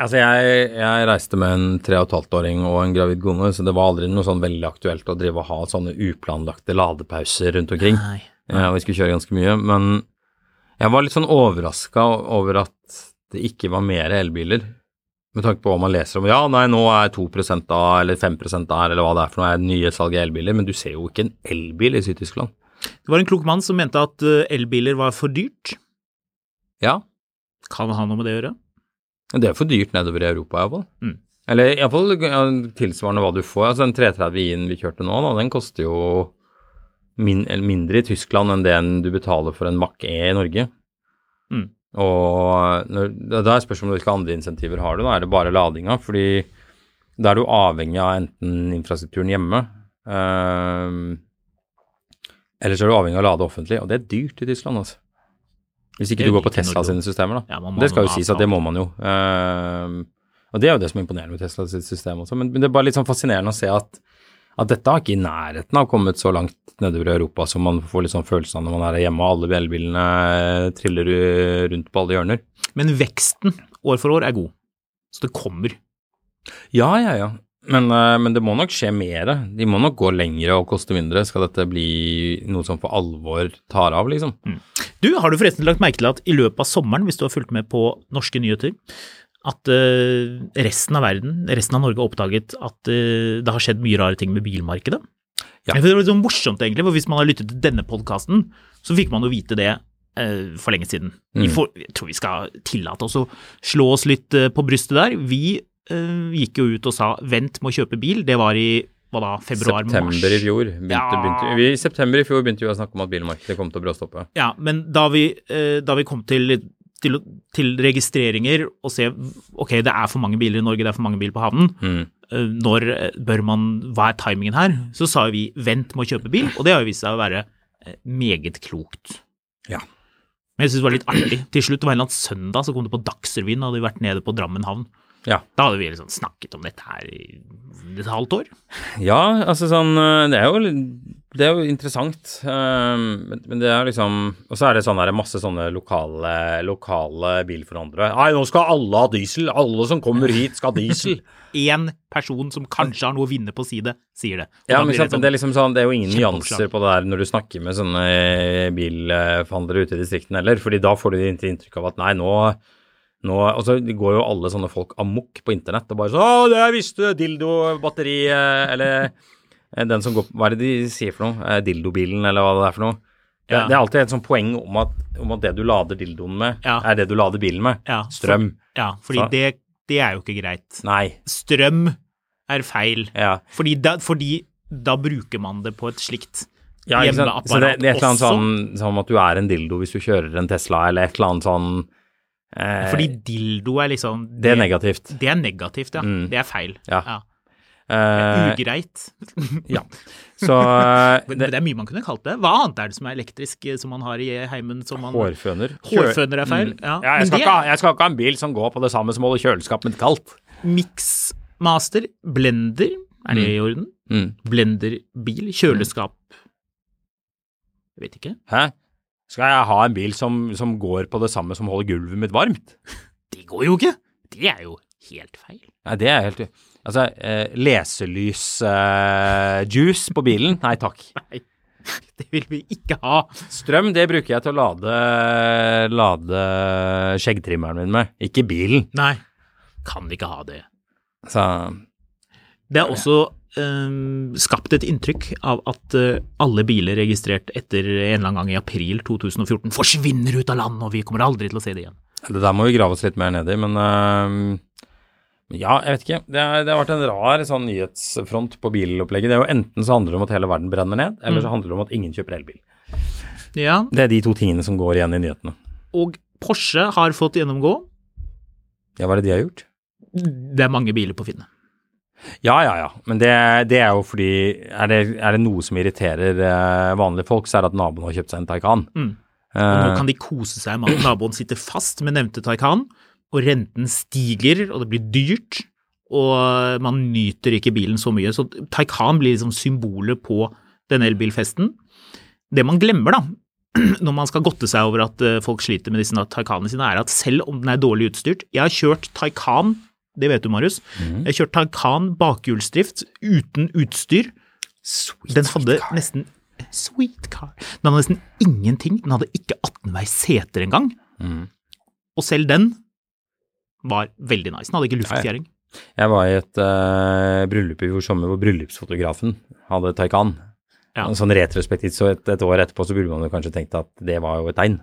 Speaker 1: Altså, jeg, jeg reiste med en tre og et halvt åring og en gravid kone, så det var aldri noe sånn veldig aktuelt å drive og ha sånne uplanlagte ladepauser rundt omkring.
Speaker 2: Nei.
Speaker 1: Ja, Eh, vi skulle kjøre ganske mye, men jeg var litt sånn overraska over at det ikke var mer elbiler. Med tanke på hva man leser om. Ja, nei, nå er 2 av, eller 5 der, eller hva det er for noe, er nye salg av elbiler, men du ser jo ikke en elbil i Syd-Tyskland.
Speaker 2: Det var en klok mann som mente at eh, elbiler var for dyrt.
Speaker 1: Ja,
Speaker 2: Kan ha noe med det å gjøre?
Speaker 1: men det er for dyrt nedover i Europa, iallfall.
Speaker 2: Mm.
Speaker 1: Eller iallfall ja, tilsvarende hva du får. Altså den 330 i-en vi kjørte nå, da, den koster jo min, eller mindre i Tyskland enn den du betaler for en Mac E i Norge.
Speaker 2: Mm.
Speaker 1: Og når, da da er spørsmålet hvilke andre insentiver har du, da er det bare ladinga, fordi da er du avhengig av enten infrastrukturen hjemme, ehm, eller så er du avhengig av å lade offentlig, og det er dyrt i Tyskland, altså. Hvis ikke
Speaker 2: Det
Speaker 1: du går på
Speaker 2: liker
Speaker 1: Tesla
Speaker 2: Norge.
Speaker 1: sine systemer, da.
Speaker 2: Ja, man må
Speaker 1: det skal
Speaker 2: ha
Speaker 1: jo
Speaker 2: noen
Speaker 1: sies at det må man jo. Ehm, og det er jo det som er imponerende med Tesla sitt system også, men, men det er bare litt sånn fascinerende å se at at dette har ikke i nærheten av kommet så langt nedover i Europa som man får litt sånn følelsen av når man er hjemme og alle elbilene triller eh, rundt på alle hjørner.
Speaker 2: Men veksten år for år er god. Så det kommer.
Speaker 1: Ja, ja, ja. Men, eh, men det må nok skje mer. De må nok gå lengre og koste mindre. Skal dette bli noe som for alvor tar av, liksom?
Speaker 2: Mm. Du, har du forresten lagt merke til at i løpet av sommeren, hvis du har fulgt med på norske nyheter, at eh, resten av verden, resten av Norge, har oppdaget at eh, det har skjedd mye rare ting med bilmarkedet?
Speaker 1: Ja.
Speaker 2: Det var litt sånn morsomt, egentlig, for hvis man har lyttet til denne podkasten, så fikk man jo vite det eh, for lenge siden. Vi
Speaker 1: Mm.
Speaker 2: får, jeg tror vi skal tillate oss å slå oss litt eh, på brystet der. Vi eh, gikk jo ut og sa vent med å kjøpe bil, det var i hva da, februar-mars?
Speaker 1: september i fjor begynte,
Speaker 2: Ja.
Speaker 1: begynte, vi, I september i fjor begynte vi å snakke om at bilmarkedet kom til å bråstoppe.
Speaker 2: Ja, men da vi, eh, da vi kom til, til, til registreringer og se ok, det er for mange biler i Norge, det er for mange biler på havnen,
Speaker 1: Mm.
Speaker 2: eh, når eh, bør man, hva er timingen her? Så sa vi vent med å kjøpe bil, og det har jo vist seg å være eh, meget klokt.
Speaker 1: Ja.
Speaker 2: Men jeg synes det var litt artig. Til slutt, det var en eller annen søndag, så kom det på Dagsrevyen, da hadde vi vært nede på Drammen havn.
Speaker 1: Ja.
Speaker 2: Da hadde vi liksom snakket om dette her i et halvt år.
Speaker 1: Ja, altså sånn øh, Det er jo, det er jo interessant. øhm, Men men det er liksom Og så er det sånn der, masse sånne lokale, lokale bilforhandlere. Nei, nå skal alle ha diesel! Alle som kommer hit, skal ha diesel!
Speaker 2: Én person som kanskje har noe å vinne på å si det, sier det. Og
Speaker 1: Ja,
Speaker 2: da
Speaker 1: men
Speaker 2: blir
Speaker 1: ikke sant, men det er liksom sånn, det er jo ingen
Speaker 2: Kjempeoppslag.
Speaker 1: nyanser på det der når du snakker med sånne bilforhandlere ute i distriktene heller, fordi da får du ikke inntrykk av at nei, nå, nå Og så går jo alle sånne folk amok på internett og bare sånn Å, det jeg visste! Dildo, batteri, eh, eller eh, den som går på Hva er det de sier for noe? Eh, Dildobilen, eller hva det er for noe? Det,
Speaker 2: Ja.
Speaker 1: det er alltid et sånt poeng om at, om at det du lader dildoen med,
Speaker 2: Ja.
Speaker 1: er det du lader bilen med.
Speaker 2: Ja,
Speaker 1: Strøm.
Speaker 2: Ja, fordi
Speaker 1: Så-
Speaker 2: det, det er jo ikke greit.
Speaker 1: Nei.
Speaker 2: Strøm er feil.
Speaker 1: Ja.
Speaker 2: Fordi da, fordi da bruker man det på et slikt
Speaker 1: Ja, ikke sant? Så det, det er
Speaker 2: hjemmeapparat
Speaker 1: et eller annet
Speaker 2: også.
Speaker 1: sånn som at du er en dildo hvis du kjører en Tesla, eller et eller annet sånn eh,
Speaker 2: Fordi dildo er liksom
Speaker 1: Det er negativt.
Speaker 2: Det er negativt, ja.
Speaker 1: Mm.
Speaker 2: Det er feil.
Speaker 1: Ja.
Speaker 2: Ja.
Speaker 1: Eh,
Speaker 2: Ugreit.
Speaker 1: ja. Så eh,
Speaker 2: Men
Speaker 1: det,
Speaker 2: det er mye man kunne kalt det. Hva annet er det som er elektrisk eh, som man har i heimen? Som man,
Speaker 1: Hårføner.
Speaker 2: Hårføner er feil. Ja.
Speaker 1: Mm. Ja, jeg,
Speaker 2: Men
Speaker 1: skal
Speaker 2: det
Speaker 1: ikke, ha- jeg skal ikke ha en bil som går på det samme som holder kjøleskapet mitt kaldt.
Speaker 2: Mixmaster, blender, er det i orden?
Speaker 1: Mm.
Speaker 2: Blenderbil, kjøleskap Jeg vet ikke.
Speaker 1: Hæ? Skal jeg ha en bil som, som går på det samme som holder gulvet mitt varmt?
Speaker 2: Det går jo ikke! Det er jo helt feil.
Speaker 1: Nei, det er helt Altså, eh, leselysjuice eh, juice på bilen? Nei takk.
Speaker 2: Nei, det vil vi ikke ha.
Speaker 1: Strøm det bruker jeg til å lade, lade skjeggtrimmeren min med, ikke bilen.
Speaker 2: Nei. Kan vi ikke ha det.
Speaker 1: Så,
Speaker 2: Det er også øhm, skapt et inntrykk av at øh, alle biler registrert etter en eller annen gang i april 2014 forsvinner ut av land, og vi kommer aldri til å se det igjen.
Speaker 1: det der må vi grave oss litt mer ned i, men øhm, ja, jeg vet ikke. Det, er, det har vært en rar sånn nyhetsfront på bilopplegget. Det er jo Enten så handler det om at hele verden brenner ned, eller så handler det om at ingen kjøper elbil.
Speaker 2: Ja,
Speaker 1: Det er de to tingene som går igjen i nyhetene.
Speaker 2: og Porsche har fått gjennomgå.
Speaker 1: Ja, hva er det de har gjort?
Speaker 2: Det er mange biler på Finne.
Speaker 1: Ja, ja, ja. Men det, det er jo fordi er det, er det noe som irriterer eh, vanlige folk, så er det at naboen har kjøpt seg en Taycan.
Speaker 2: Mm. Og nå
Speaker 1: Eh,
Speaker 2: kan de kose seg med at naboen sitter fast med nevnte Taycan, og renten stiger, og det blir dyrt, og man nyter ikke bilen så mye. Så Taycan blir liksom symbolet på denne elbilfesten. Det man glemmer, da, når man skal godte seg over at eh, folk sliter med disse Taycanene sine, er at selv om den er dårlig utstyrt Jeg har kjørt Taycan, det vet du, Marius. Jeg har kjørt Taycan bakhjulsdrift uten utstyr. den hadde nesten Sweet car. Den hadde nesten ingenting. Den hadde ikke 18-veis seter engang.
Speaker 1: Mm.
Speaker 2: Og selv den var veldig nice. Den hadde ikke luftfjæring.
Speaker 1: Jeg var i et eh, bryllup i fjor sommer hvor bryllupsfotografen hadde Taycan.
Speaker 2: Ja.
Speaker 1: Sånn retrospektivt, så et, et år etterpå så burde man jo kanskje tenkt at det var jo et tegn.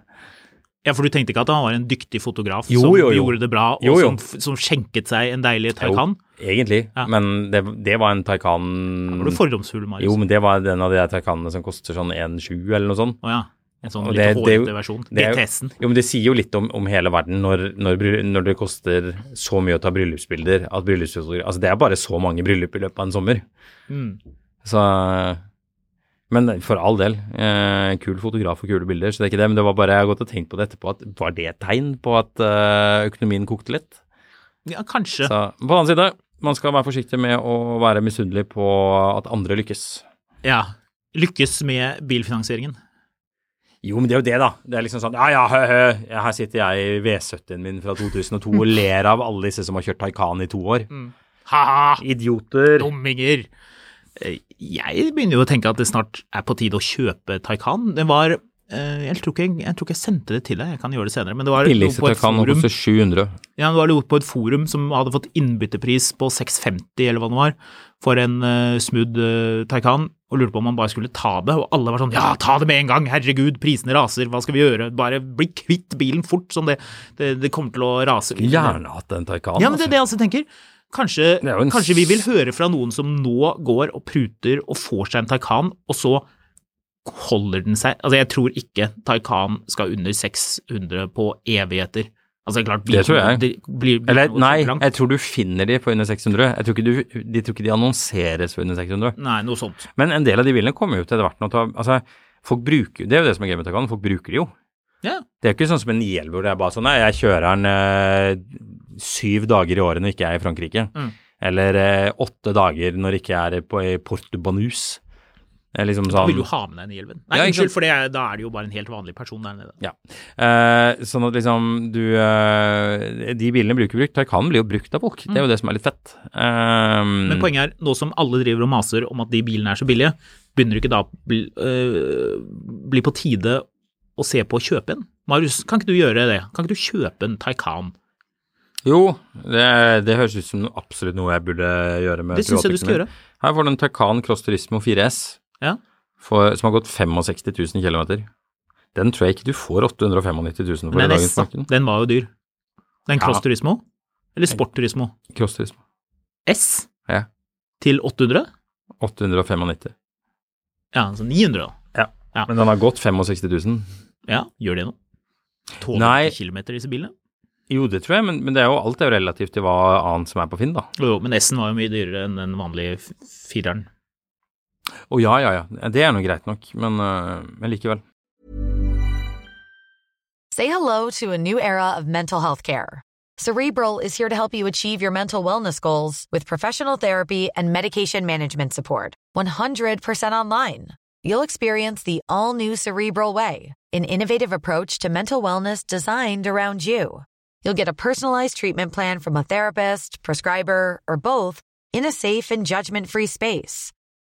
Speaker 2: Ja, for du tenkte ikke at han var en dyktig fotograf
Speaker 1: Jo,
Speaker 2: som
Speaker 1: jo, jo.
Speaker 2: gjorde det bra, og
Speaker 1: Jo, jo.
Speaker 2: Som, f- som skjenket seg en deilig Taycan?
Speaker 1: Jo, egentlig,
Speaker 2: Ja.
Speaker 1: men det, det var en
Speaker 2: Var du
Speaker 1: Taycan
Speaker 2: fordomsfull, Marius?
Speaker 1: Mm. Jo, men det var den av de der Taycanene som koster sånn 1,7 eller noe sånt.
Speaker 2: Å ja. En sånn
Speaker 1: Og
Speaker 2: litt
Speaker 1: det- det er jo-
Speaker 2: hårete versjon.
Speaker 1: det er jo-
Speaker 2: GTS-en.
Speaker 1: Jo, men det sier jo litt om, om hele verden når, når, bry- når det koster så mye å ta bryllupsbilder at bryllupsfotografer Altså, det er bare så mange bryllup i løpet av en sommer.
Speaker 2: Mm.
Speaker 1: Så Men for all del. Eh, kul fotograf og kule bilder, så det er ikke det. Men det var bare jeg har gått og tenkt på det etterpå, at var det et tegn på at eh, økonomien kokte litt?
Speaker 2: Ja, kanskje.
Speaker 1: Så på den annen side, man skal være forsiktig med å være misunnelig på at andre lykkes.
Speaker 2: Ja. Lykkes med bilfinansieringen.
Speaker 1: Jo, men det er jo det, da. Det er liksom sånn ja, ja, hø, hø. ja, Her sitter jeg i V70-en min fra 2002 og ler av alle disse som har kjørt Taycan i to år.
Speaker 2: Mm. Ha-ha!
Speaker 1: Idioter.
Speaker 2: Dumminger! Eh, Jeg begynner jo å tenke at det snart er på tide å kjøpe Taycan. Det var eh, jeg tror, ikke, jeg- jeg tror ikke jeg sendte det til deg, jeg kan gjøre det senere. Men det var, noe
Speaker 1: Billigste
Speaker 2: på et
Speaker 1: Taycan
Speaker 2: forum,
Speaker 1: koster 700.
Speaker 2: ja, det var noe på et forum som hadde fått innbyttepris på 650 eller hva det var, for en uh, smooth eh, Taycan, og lurte på om man bare skulle ta det. Og alle var sånn ja, ta det med en gang, herregud, prisene raser, hva skal vi gjøre, bare bli kvitt bilen fort, som det, det, det kommer til å rase.
Speaker 1: Gjerne hatt en Taycan.
Speaker 2: Ja, men det er det jeg altså tenker. Kanskje,
Speaker 1: Det er jo en
Speaker 2: kanskje vi vil
Speaker 1: s-
Speaker 2: høre fra noen som nå går og pruter og får seg en Taycan, og så holder den seg Altså, jeg tror ikke Taycan skal under 600 på evigheter. Altså, det er klart
Speaker 1: Det tror jeg.
Speaker 2: det blir, blir
Speaker 1: Eller
Speaker 2: noe
Speaker 1: nei,
Speaker 2: langt.
Speaker 1: jeg tror du finner de på under 600. Jeg tror ikke du, de tror ikke de annonseres for under 600.
Speaker 2: Nei, noe sånt.
Speaker 1: Men en del av de bilene kommer jo til etter hvert nå. til å- Altså, folk bruker, det er jo det som er gøy med Taycan, folk bruker de jo.
Speaker 2: Ja.
Speaker 1: Det er jo ikke sånn som en IL hvor det er bare sånn Nei, jeg kjører den eh, syv dager i året når ikke jeg er i Frankrike.
Speaker 2: Mm.
Speaker 1: Eller eh, åtte dager når ikke jeg er på, i Porto Banus. Det er liksom
Speaker 2: Da
Speaker 1: sånn
Speaker 2: vil du ha med deg den hjelmen. Nei,
Speaker 1: Ja, ikke sant.
Speaker 2: unnskyld, for det er, da er det jo bare en helt vanlig person der nede.
Speaker 1: Ja. Eh, sånn at liksom du eh, De bilene blir jo ikke brukt. Taycanen blir jo brukt av folk. Det er jo det som er litt fett. Um,
Speaker 2: Mm. Men poenget er, nå som alle driver og maser om at de bilene er så billige, begynner det ikke da å bli, øh, bli på tide å se på å kjøpe en? Marius, kan ikke du gjøre det? Kan ikke du kjøpe en Taycan?
Speaker 1: Jo, det, det høres ut som absolutt noe jeg burde gjøre med
Speaker 2: Det syns jeg du
Speaker 1: privatbilen min.
Speaker 2: skal gjøre.
Speaker 1: Her får du en Taycan Cross Turismo 4S
Speaker 2: Ja.
Speaker 1: for, som har gått 65 000 km. Den tror jeg ikke du får 895 000 for i
Speaker 2: Men den,
Speaker 1: dagens
Speaker 2: S-a,
Speaker 1: marked.
Speaker 2: den var jo dyr. Den
Speaker 1: Ja.
Speaker 2: Cross Turismo? Eller Sport Turismo?
Speaker 1: Cross Turismo.
Speaker 2: S
Speaker 1: Ja.
Speaker 2: til 800?
Speaker 1: 895 000.
Speaker 2: Ja, altså 900 da. Ja.
Speaker 1: Men den har gått 65 000.
Speaker 2: Ja, gjør det nå. Tåler
Speaker 1: Nei.
Speaker 2: ikke kilometer disse bilene?
Speaker 1: Jo, det tror jeg, men, men det er jo alt er jo relativt til hva annet som er på Finn, da.
Speaker 2: Jo, jo, men S-en var jo mye dyrere enn den vanlige f- fireren.
Speaker 1: Å ja, ja, ja. Det er nå greit nok, men, øh, men likevel.
Speaker 4: Say hello to a new era of mental health care. Cerebral is here to help you achieve your mental wellness goals with professional therapy and medication management support. 100% online. You'll experience the all new Cerebral Way, an innovative approach to mental wellness designed around you. You'll get a personalized treatment plan from a therapist, prescriber, or both in a safe and judgment free space.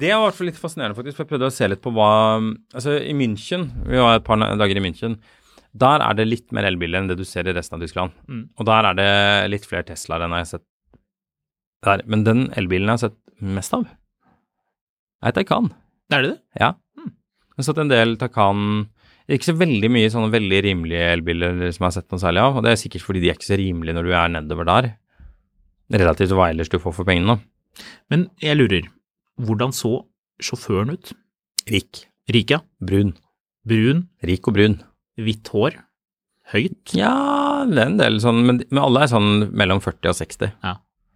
Speaker 1: Det har vært litt fascinerende, faktisk. for Jeg prøvde å se litt på hva Altså, i München Vi var et par na- dager i München. Der er det litt mer elbiler enn det du ser i resten av Tyskland. Og der er det litt flere Teslaer enn jeg har sett der. Men den elbilen jeg har sett mest av, er Taycan.
Speaker 2: Er det det?
Speaker 1: Ja. Jeg har sett en del Taycan Ikke så veldig mye sånne veldig rimelige elbiler som jeg har sett noe særlig av. Og det er sikkert fordi de er ikke så rimelige når du er nedover der. Relativt hva ellers du får for pengene.
Speaker 2: Men jeg lurer, hvordan så sjåføren ut?
Speaker 1: Rik.
Speaker 2: Rik, ja.
Speaker 1: Brun.
Speaker 2: Brun,
Speaker 1: Rik og brun.
Speaker 2: hvitt hår, høyt,
Speaker 1: Ja, det er en del sånn, men, men alle er sånn mellom 40 og 60.
Speaker 2: ja.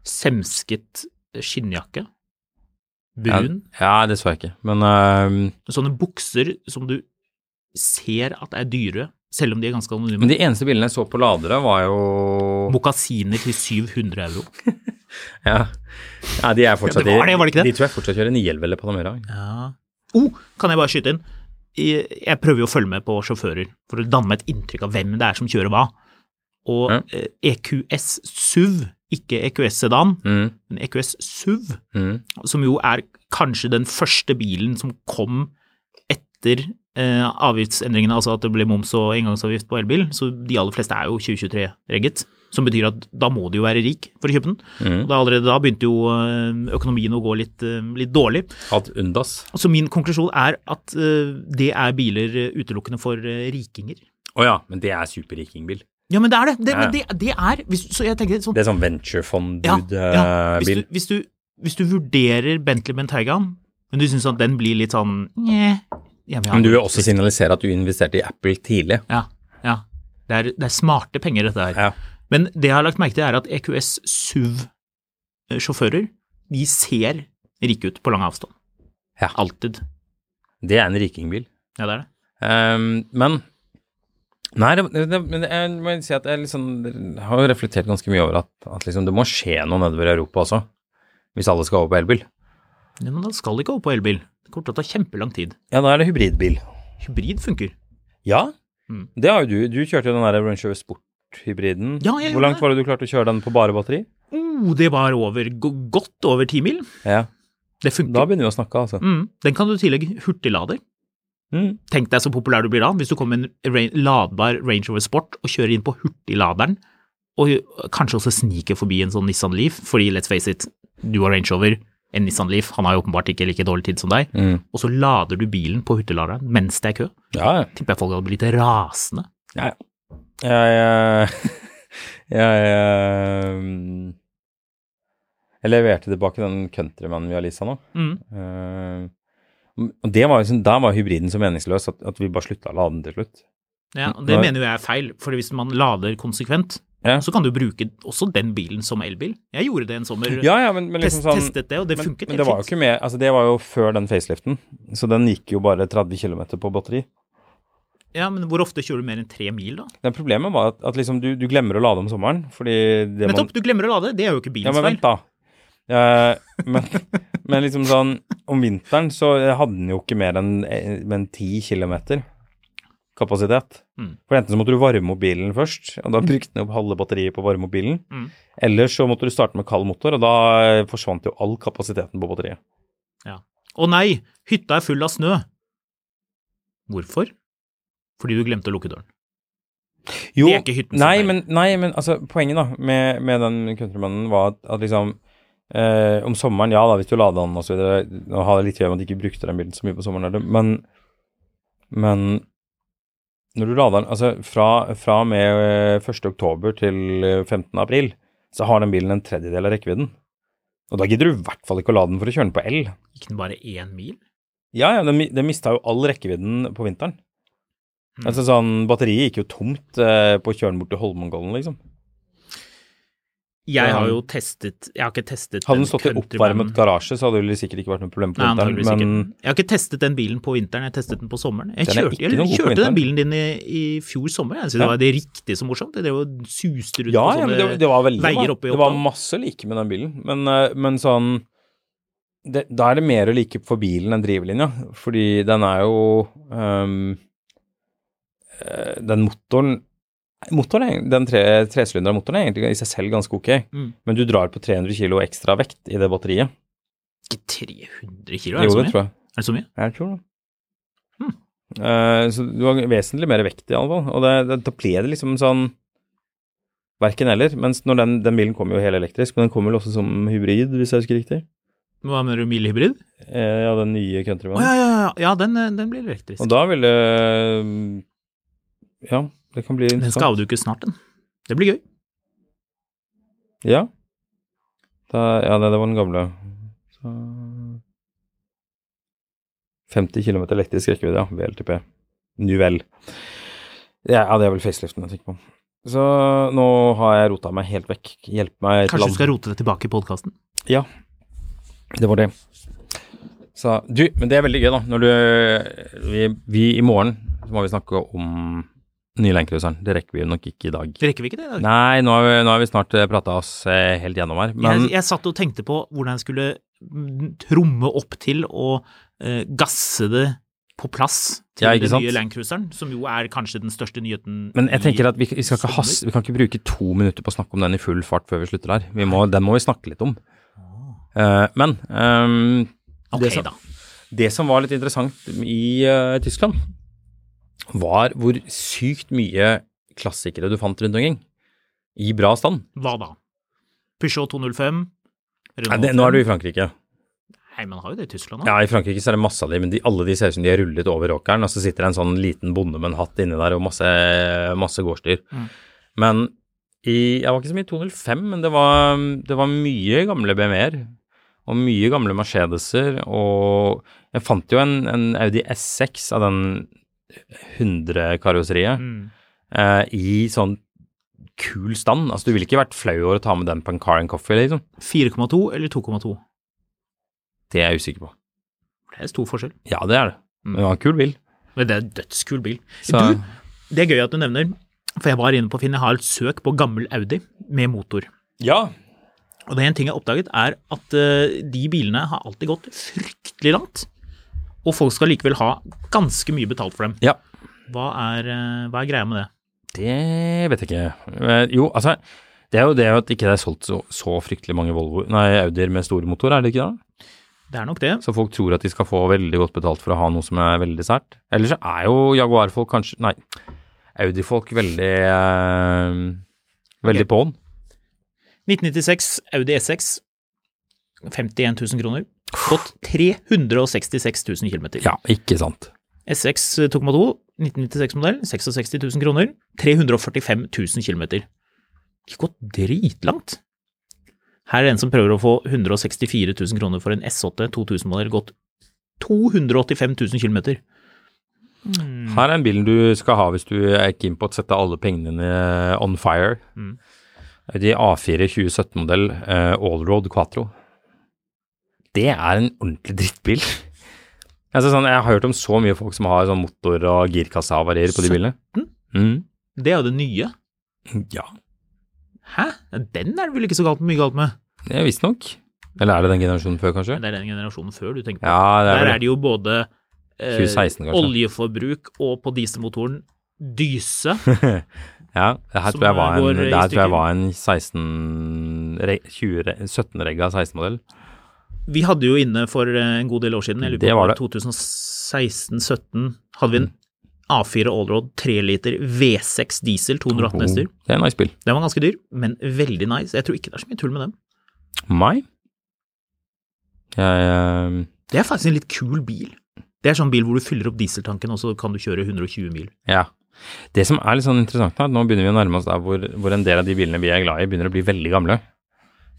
Speaker 2: semsket skinnjakke,
Speaker 1: Ja,
Speaker 2: brun,
Speaker 1: ja, det så jeg ikke, men eh, øhm,
Speaker 2: sånne bukser som du ser at er dyre, selv om de er ganske
Speaker 1: Men
Speaker 2: anonyme.
Speaker 1: de eneste bilene jeg så på ladere, var jo
Speaker 2: Mokasiner til 700 euro.
Speaker 1: Ja, ja de er fortsatt
Speaker 2: Ja, det var det, var det ikke det?
Speaker 1: De tror jeg fortsatt kjører 911 eller Panamera.
Speaker 2: Ja. Oh, kan jeg bare skyte inn? Jeg jeg prøver jo å følge med på sjåfører for å danne meg et inntrykk av hvem det er som kjører hva. Og
Speaker 1: Ja.
Speaker 2: eh, EQS SUV, ikke EQS Sedan,
Speaker 1: Mm,
Speaker 2: men EQS E SUV,
Speaker 1: mm.
Speaker 2: som jo er kanskje den første bilen som kom etter eh, avgiftsendringene, altså at det ble moms og engangsavgift på elbil, så de aller fleste er jo 2023-regget. Som betyr at da må du jo være rik for å kjøpe den.
Speaker 1: Mm.
Speaker 2: Og da, allerede da begynte jo eh, økonomien å gå litt, eh, litt dårlig.
Speaker 1: Ad undas.
Speaker 2: Så min konklusjon er at eh, det er biler eh, utelukkende for eh, rikinger.
Speaker 1: Å ja, men det er superrikingbil.
Speaker 2: Ja, men det er det! Det,
Speaker 1: Ja, ja.
Speaker 2: men det, det er hvis, Så jeg tenker sånn
Speaker 1: Det er sånn venturefond-dude-bil. eh,
Speaker 2: hvis, du, hvis, du, hvis du vurderer Bentley Bentaygan, men du syns at den blir litt sånn Njeh. jeg vil ha
Speaker 1: Men du vil
Speaker 2: den.
Speaker 1: også signalisere at du investerte i Apple tidlig.
Speaker 2: Ja. ja. Det, er, det er smarte penger, dette her.
Speaker 1: Ja.
Speaker 2: Men det jeg har lagt merke til, er at E EQS SUV-sjåfører eh, de ser rike ut på lang avstand.
Speaker 1: Ja.
Speaker 2: Alltid.
Speaker 1: Det er en rikingbil.
Speaker 2: Ja, det er det.
Speaker 1: Ehm, men Nei, det, det, men det- jeg må si at jeg liksom har jo reflektert ganske mye over at, at liksom det må skje noe nedover i Europa også, hvis alle skal over på elbil.
Speaker 2: Ja, Men den skal ikke over på elbil. Det kommer til å ta kjempelang tid.
Speaker 1: Ja, da er det hybridbil.
Speaker 2: Hybrid funker.
Speaker 1: Ja,
Speaker 2: Mm.
Speaker 1: det har jo du. Du kjørte jo den der Range Rover Sport-hybriden.
Speaker 2: Ja, jeg
Speaker 1: Hvor
Speaker 2: gjorde
Speaker 1: langt var det du klarte å kjøre den på bare batteri?
Speaker 2: Oh, det var over, go- godt over ti mil.
Speaker 1: Ja,
Speaker 2: Det
Speaker 1: da
Speaker 2: funker.
Speaker 1: begynner vi å snakke, altså.
Speaker 2: Mm. Den kan du tillegge hurtiglader.
Speaker 1: Mm.
Speaker 2: Tenk deg så populær du blir da, hvis du kommer med en ra- ladbar Range Rover Sport og kjører inn på hurtigladeren, og kanskje også sniker forbi en sånn Nissan Leaf, fordi let's face it, du har Range Rover, en Nissan Leaf, han har jo åpenbart ikke like dårlig tid som deg,
Speaker 1: Mm.
Speaker 2: og så lader du bilen på hurtigladeren mens det er kø.
Speaker 1: Ja, ja.
Speaker 2: Tipper jeg folk hadde blitt rasende.
Speaker 1: Ja, ja. Jeg, eh, jeg, jeg, mm, jeg leverte tilbake den Countrymanen vi har leasa nå.
Speaker 2: Mm.
Speaker 1: Eh, og det var liksom, der var hybriden så meningsløs at, at vi bare slutta å lade den til slutt.
Speaker 2: Ja, og det
Speaker 1: Nei.
Speaker 2: mener jo jeg er feil, for hvis man lader konsekvent,
Speaker 1: Mm. Ja.
Speaker 2: så kan du bruke også den bilen som elbil. Jeg gjorde det en sommer,
Speaker 1: Ja, ja, men, men liksom
Speaker 2: test,
Speaker 1: sånn
Speaker 2: testet det, og det
Speaker 1: men,
Speaker 2: funket
Speaker 1: men det var jo
Speaker 2: fint.
Speaker 1: ikke med, altså det var jo før den faceliften, så den gikk jo bare 30 km på batteri.
Speaker 2: Ja, men hvor ofte kjører du mer enn tre mil da?
Speaker 1: Men problemet var at, at liksom du, du glemmer å lade om sommeren, fordi det man-
Speaker 2: Nettopp, du glemmer å lade, det er jo ikke
Speaker 1: Ja,
Speaker 2: bilens
Speaker 1: men
Speaker 2: feil.
Speaker 1: vent, da. Eh, men, men liksom sånn Om vinteren så hadde den jo ikke mer enn en 10 km kapasitet.
Speaker 2: Mm.
Speaker 1: For enten så måtte du varme opp bilen først, og da brukte den opp halve batteriet på å varme opp bilen.
Speaker 2: Mm.
Speaker 1: Eller så måtte du starte med kald motor, og da forsvant jo all kapasiteten på batteriet.
Speaker 2: Ja. Å nei, hytta er full av snø. Hvorfor? Fordi du glemte å lukke døren.
Speaker 1: Jo,
Speaker 2: Det er ikke hytten sin
Speaker 1: nei,
Speaker 2: feil.
Speaker 1: men, nei, men altså, poenget da med, med den countrymannen var at, at liksom eh, Om sommeren, ja da, hvis du lader den og så videre Nå har det litt å gjøre med at de ikke brukte den bilen så mye på sommeren, eller, men, men når du lader den Altså fra, fra og med eh, 1. oktober til eh, 15. april, så har den bilen en tredjedel av rekkevidden. Og da gidder du i hvert fall ikke å lade den for å kjøre den på el.
Speaker 2: Gikk den bare én mil?
Speaker 1: Ja, ja, den, mi- den mista jo all rekkevidden på vinteren.
Speaker 2: Mm.
Speaker 1: Altså sånn, Batteriet gikk jo tomt eh, på kjøren bort til Holmenkollen, liksom.
Speaker 2: Jeg
Speaker 1: Ja.
Speaker 2: har jo testet Jeg har ikke testet
Speaker 1: Hadde
Speaker 2: den
Speaker 1: den stått i
Speaker 2: Countrymanen.
Speaker 1: oppvarmet garasje, så hadde det vel sikkert ikke vært noe problem på
Speaker 2: Nei,
Speaker 1: vinteren.
Speaker 2: antageligvis
Speaker 1: Men
Speaker 2: ikke. Jeg har ikke testet den bilen på vinteren, jeg testet den på sommeren. Jeg
Speaker 1: Den er
Speaker 2: kjørte,
Speaker 1: ikke noe god
Speaker 2: jeg
Speaker 1: på
Speaker 2: kjørte
Speaker 1: vinteren.
Speaker 2: den bilen din i, i fjor sommer, jeg synes
Speaker 1: Ja.
Speaker 2: det var det riktig så morsomt. Det drev og suste rundt
Speaker 1: ja,
Speaker 2: på
Speaker 1: ja,
Speaker 2: sånne
Speaker 1: men det, det var veldig
Speaker 2: veier oppe i
Speaker 1: Det var
Speaker 2: Oppdal.
Speaker 1: masse like med den bilen, men, eh, men sånn det, Da er det mer å like for bilen enn drivlinja, fordi den er jo ehm, eh, Den motoren Motoren, er- den tre, tresylinderen av motoren er egentlig i seg selv ganske ok,
Speaker 2: Mm.
Speaker 1: men du drar på 300 kilo ekstra vekt i det batteriet.
Speaker 2: Ikke 300 kilo, er det
Speaker 1: Jo,
Speaker 2: så
Speaker 1: det
Speaker 2: mye?
Speaker 1: tror jeg.
Speaker 2: Er det så mye?
Speaker 1: Jeg tror det.
Speaker 2: Hm.
Speaker 1: Eh, så du har vesentlig mer vekt, i alle fall. Og det, det, da ble det liksom sånn Verken eller. Mens når den, den bilen kommer jo helelektrisk, men den kommer vel også som hybrid, hvis jeg husker riktig.
Speaker 2: Hva mener du, mildhybrid?
Speaker 1: Eh, ja, den nye
Speaker 2: Å ja,
Speaker 1: countrymanen.
Speaker 2: ja, ja, ja den, eh, den blir elektrisk.
Speaker 1: Og da vil det Ja, det kan bli
Speaker 2: Den skal avdukes snart, den. Det blir gøy.
Speaker 1: Ja. Da, ja, det, det var den gamle. Så 50 km elektrisk rekkevidde, ja. VLTP. Nu vel. Ja, ja, det er vel faceliften jeg tenker på. Så nå har jeg rota meg helt vekk. Hjelp meg
Speaker 2: Kanskje du skal rote det tilbake i podkasten?
Speaker 1: Det var det. Så, du, men det er veldig gøy, da. Når du Vi, vi i morgen så må vi snakke om nye Landcruiseren. Det rekker vi nok ikke i dag.
Speaker 2: Rekker vi ikke det i dag?
Speaker 1: Nei, nå har vi, nå har vi snart prata oss eh, helt gjennom her, men
Speaker 2: jeg, jeg satt og tenkte på hvordan jeg skulle mm, tromme opp til og eh, gasse det på plass til
Speaker 1: Ja, ikke
Speaker 2: den
Speaker 1: sant?
Speaker 2: nye Landcruiseren, som jo er kanskje den største nyheten
Speaker 1: Men jeg
Speaker 2: i-
Speaker 1: tenker at vi, vi, skal ikke
Speaker 2: sommer.
Speaker 1: haste, vi kan ikke bruke to minutter på å snakke om den i full fart før vi slutter her. Vi må, den må vi snakke litt om. Eh, men ehm,
Speaker 2: Ok,
Speaker 1: det, som,
Speaker 2: da.
Speaker 1: det som var litt interessant i eh, Tyskland, var hvor sykt mye klassikere du fant rundt omkring. I bra stand.
Speaker 2: Hva da? Peugeot 205?
Speaker 1: Nei,
Speaker 2: Renault
Speaker 1: det, nå er du
Speaker 2: 5.
Speaker 1: i Frankrike.
Speaker 2: Nei, man har jo det i Tyskland òg.
Speaker 1: Ja, i Frankrike så er det masse av de, men de, alle de ser ut som de har rullet over åkeren, og så sitter det en sånn liten bonde med en hatt inni der og masse, masse gårdsdyr.
Speaker 2: Mm.
Speaker 1: Men i, jeg var ikke så mye i 205, men det var, det var mye gamle BMW-er, og mye gamle Mercedeser, og jeg fant jo en, en Audi S6 av den 100-karosseriet
Speaker 2: Mm.
Speaker 1: eh, i sånn kul stand. Altså, du ville ikke vært flau over å ta med den på en car and coffee, liksom.
Speaker 2: 4,2 eller 2,2?
Speaker 1: Det er jeg usikker på.
Speaker 2: Det er stor forskjell.
Speaker 1: Ja, det er det. Men det var en kul bil.
Speaker 2: Men det er en dødskul bil.
Speaker 1: Så-
Speaker 2: Du, Det er gøy at du nevner, for jeg var inne på Finn, jeg har et søk på gammel Audi med motor.
Speaker 1: Ja.
Speaker 2: Og det er en ting jeg har oppdaget, er at eh, de bilene har alltid gått fryktelig langt. Og folk skal likevel ha ganske mye betalt for dem.
Speaker 1: ja.
Speaker 2: Hva er, eh, hva er greia med det?
Speaker 1: Det vet jeg ikke. Eh, Jo, altså det er jo det at ikke det er solgt så, så fryktelig mange Volvo, nei, Audier med stor motor, er det ikke det?
Speaker 2: Det er nok det.
Speaker 1: Så folk tror at de skal få veldig godt betalt for å ha noe som er veldig sært. Ellers så er jo Jaguar-folk kanskje, nei, Audi-folk veldig, eh, veldig på'n.
Speaker 2: 1996 Audi S6. 51 000 kroner. Gått 366 000 km.
Speaker 1: Ja, ikke sant.
Speaker 2: S6 2,2, 1996-modell, 66 000 kroner. 345 000 km. Ikke gått dritlangt. Her er det en som prøver å få 164 000 kroner for en S8 2000-modell, gått 285 000 km.
Speaker 1: Her er en bilen du skal ha hvis du er keen på å sette alle pengene dine eh, on fire.
Speaker 2: Mm.
Speaker 1: De A4 2017-modell eh, Allroad Quatro. Det er en ordentlig drittbil. Altså, sånn, jeg har hørt om så mye folk som har sånn motor- og girkassehavarier på de bilene. Mm.
Speaker 2: Det er jo det nye.
Speaker 1: Ja,
Speaker 2: Hæ? Den er det vel ikke så galt, mye galt med?
Speaker 1: det er visstnok. Eller er det den generasjonen før, kanskje?
Speaker 2: Men det er den generasjonen før du tenker på.
Speaker 1: Ja, det er
Speaker 2: Der
Speaker 1: vel
Speaker 2: er det jo både eh,
Speaker 1: 2016 kanskje.
Speaker 2: oljeforbruk og på dieselmotoren dyse.
Speaker 1: Ja, det her
Speaker 2: Som
Speaker 1: tror jeg var
Speaker 2: går
Speaker 1: en,
Speaker 2: i
Speaker 1: det her tror jeg
Speaker 2: stykker.
Speaker 1: var en 16, re- 20, re- 17-regga 16-modell.
Speaker 2: Vi hadde jo inne for eh, en god del år siden, jeg lurer
Speaker 1: Det
Speaker 2: på
Speaker 1: var
Speaker 2: om
Speaker 1: det.
Speaker 2: det var 2016-17, hadde vi en A4 Allroad 3 liter V6 diesel 218 hester.
Speaker 1: Oh, Det er en nice bil.
Speaker 2: Den var ganske dyr, men veldig nice. Jeg tror ikke det er så mye tull med den.
Speaker 1: Mai? Jeg eh,
Speaker 2: Det er faktisk en litt kul bil. Det er sånn bil hvor du fyller opp dieseltanken, og så kan du kjøre 120 mil.
Speaker 1: Ja. Det som er litt sånn interessant, nå, er at nå begynner vi å nærme oss der hvor, hvor en del av de bilene vi er glad i, begynner å bli veldig gamle.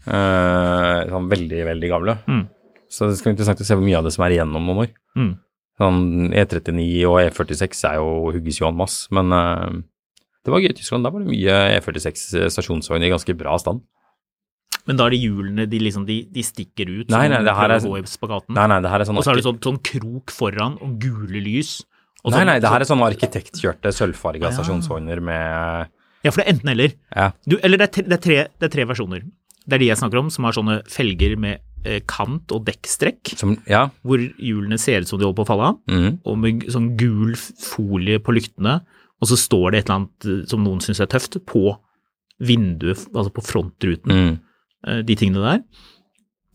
Speaker 1: Eh, sånn veldig, veldig gamle.
Speaker 2: Mm.
Speaker 1: Så det skal være interessant å se hvor mye av det som er igjen om noen år.
Speaker 2: Mm.
Speaker 1: Sånn E39 og E46 er jo hugges jo en masse, men eh, det var gøy i Tyskland. Der var det mye E46 stasjonsvogn i ganske bra stand.
Speaker 2: Men da er det hjulene, de, liksom, de, de stikker ut.
Speaker 1: Nei,
Speaker 2: som
Speaker 1: nei,
Speaker 2: om
Speaker 1: det
Speaker 2: du
Speaker 1: her
Speaker 2: prøver
Speaker 1: er-
Speaker 2: å gå i spagaten.
Speaker 1: Nei, nei, det her er sånn,
Speaker 2: Mm. Og så er det
Speaker 1: arki-
Speaker 2: sånn, sånn krok foran og gule lys. Og
Speaker 1: nei,
Speaker 2: sånn-
Speaker 1: nei, det her er sånn arkitektkjørte sølvfarga
Speaker 2: Ah, ja.
Speaker 1: stasjonsvogner med
Speaker 2: Ja, for det er enten eller.
Speaker 1: Ja.
Speaker 2: Du, eller det er, tre, det, er tre, det er tre versjoner. Det er de jeg snakker om, som har sånne felger med eh, kant og dekkstrekk,
Speaker 1: Som, ja.
Speaker 2: hvor hjulene ser ut som de holder på å falle av,
Speaker 1: mhm.
Speaker 2: og med g- sånn gul f- folie på lyktene, og så står det et eller annet eh, som noen syns er tøft, på vinduet, f- altså på frontruten,
Speaker 1: Mm.
Speaker 2: eh, de tingene der.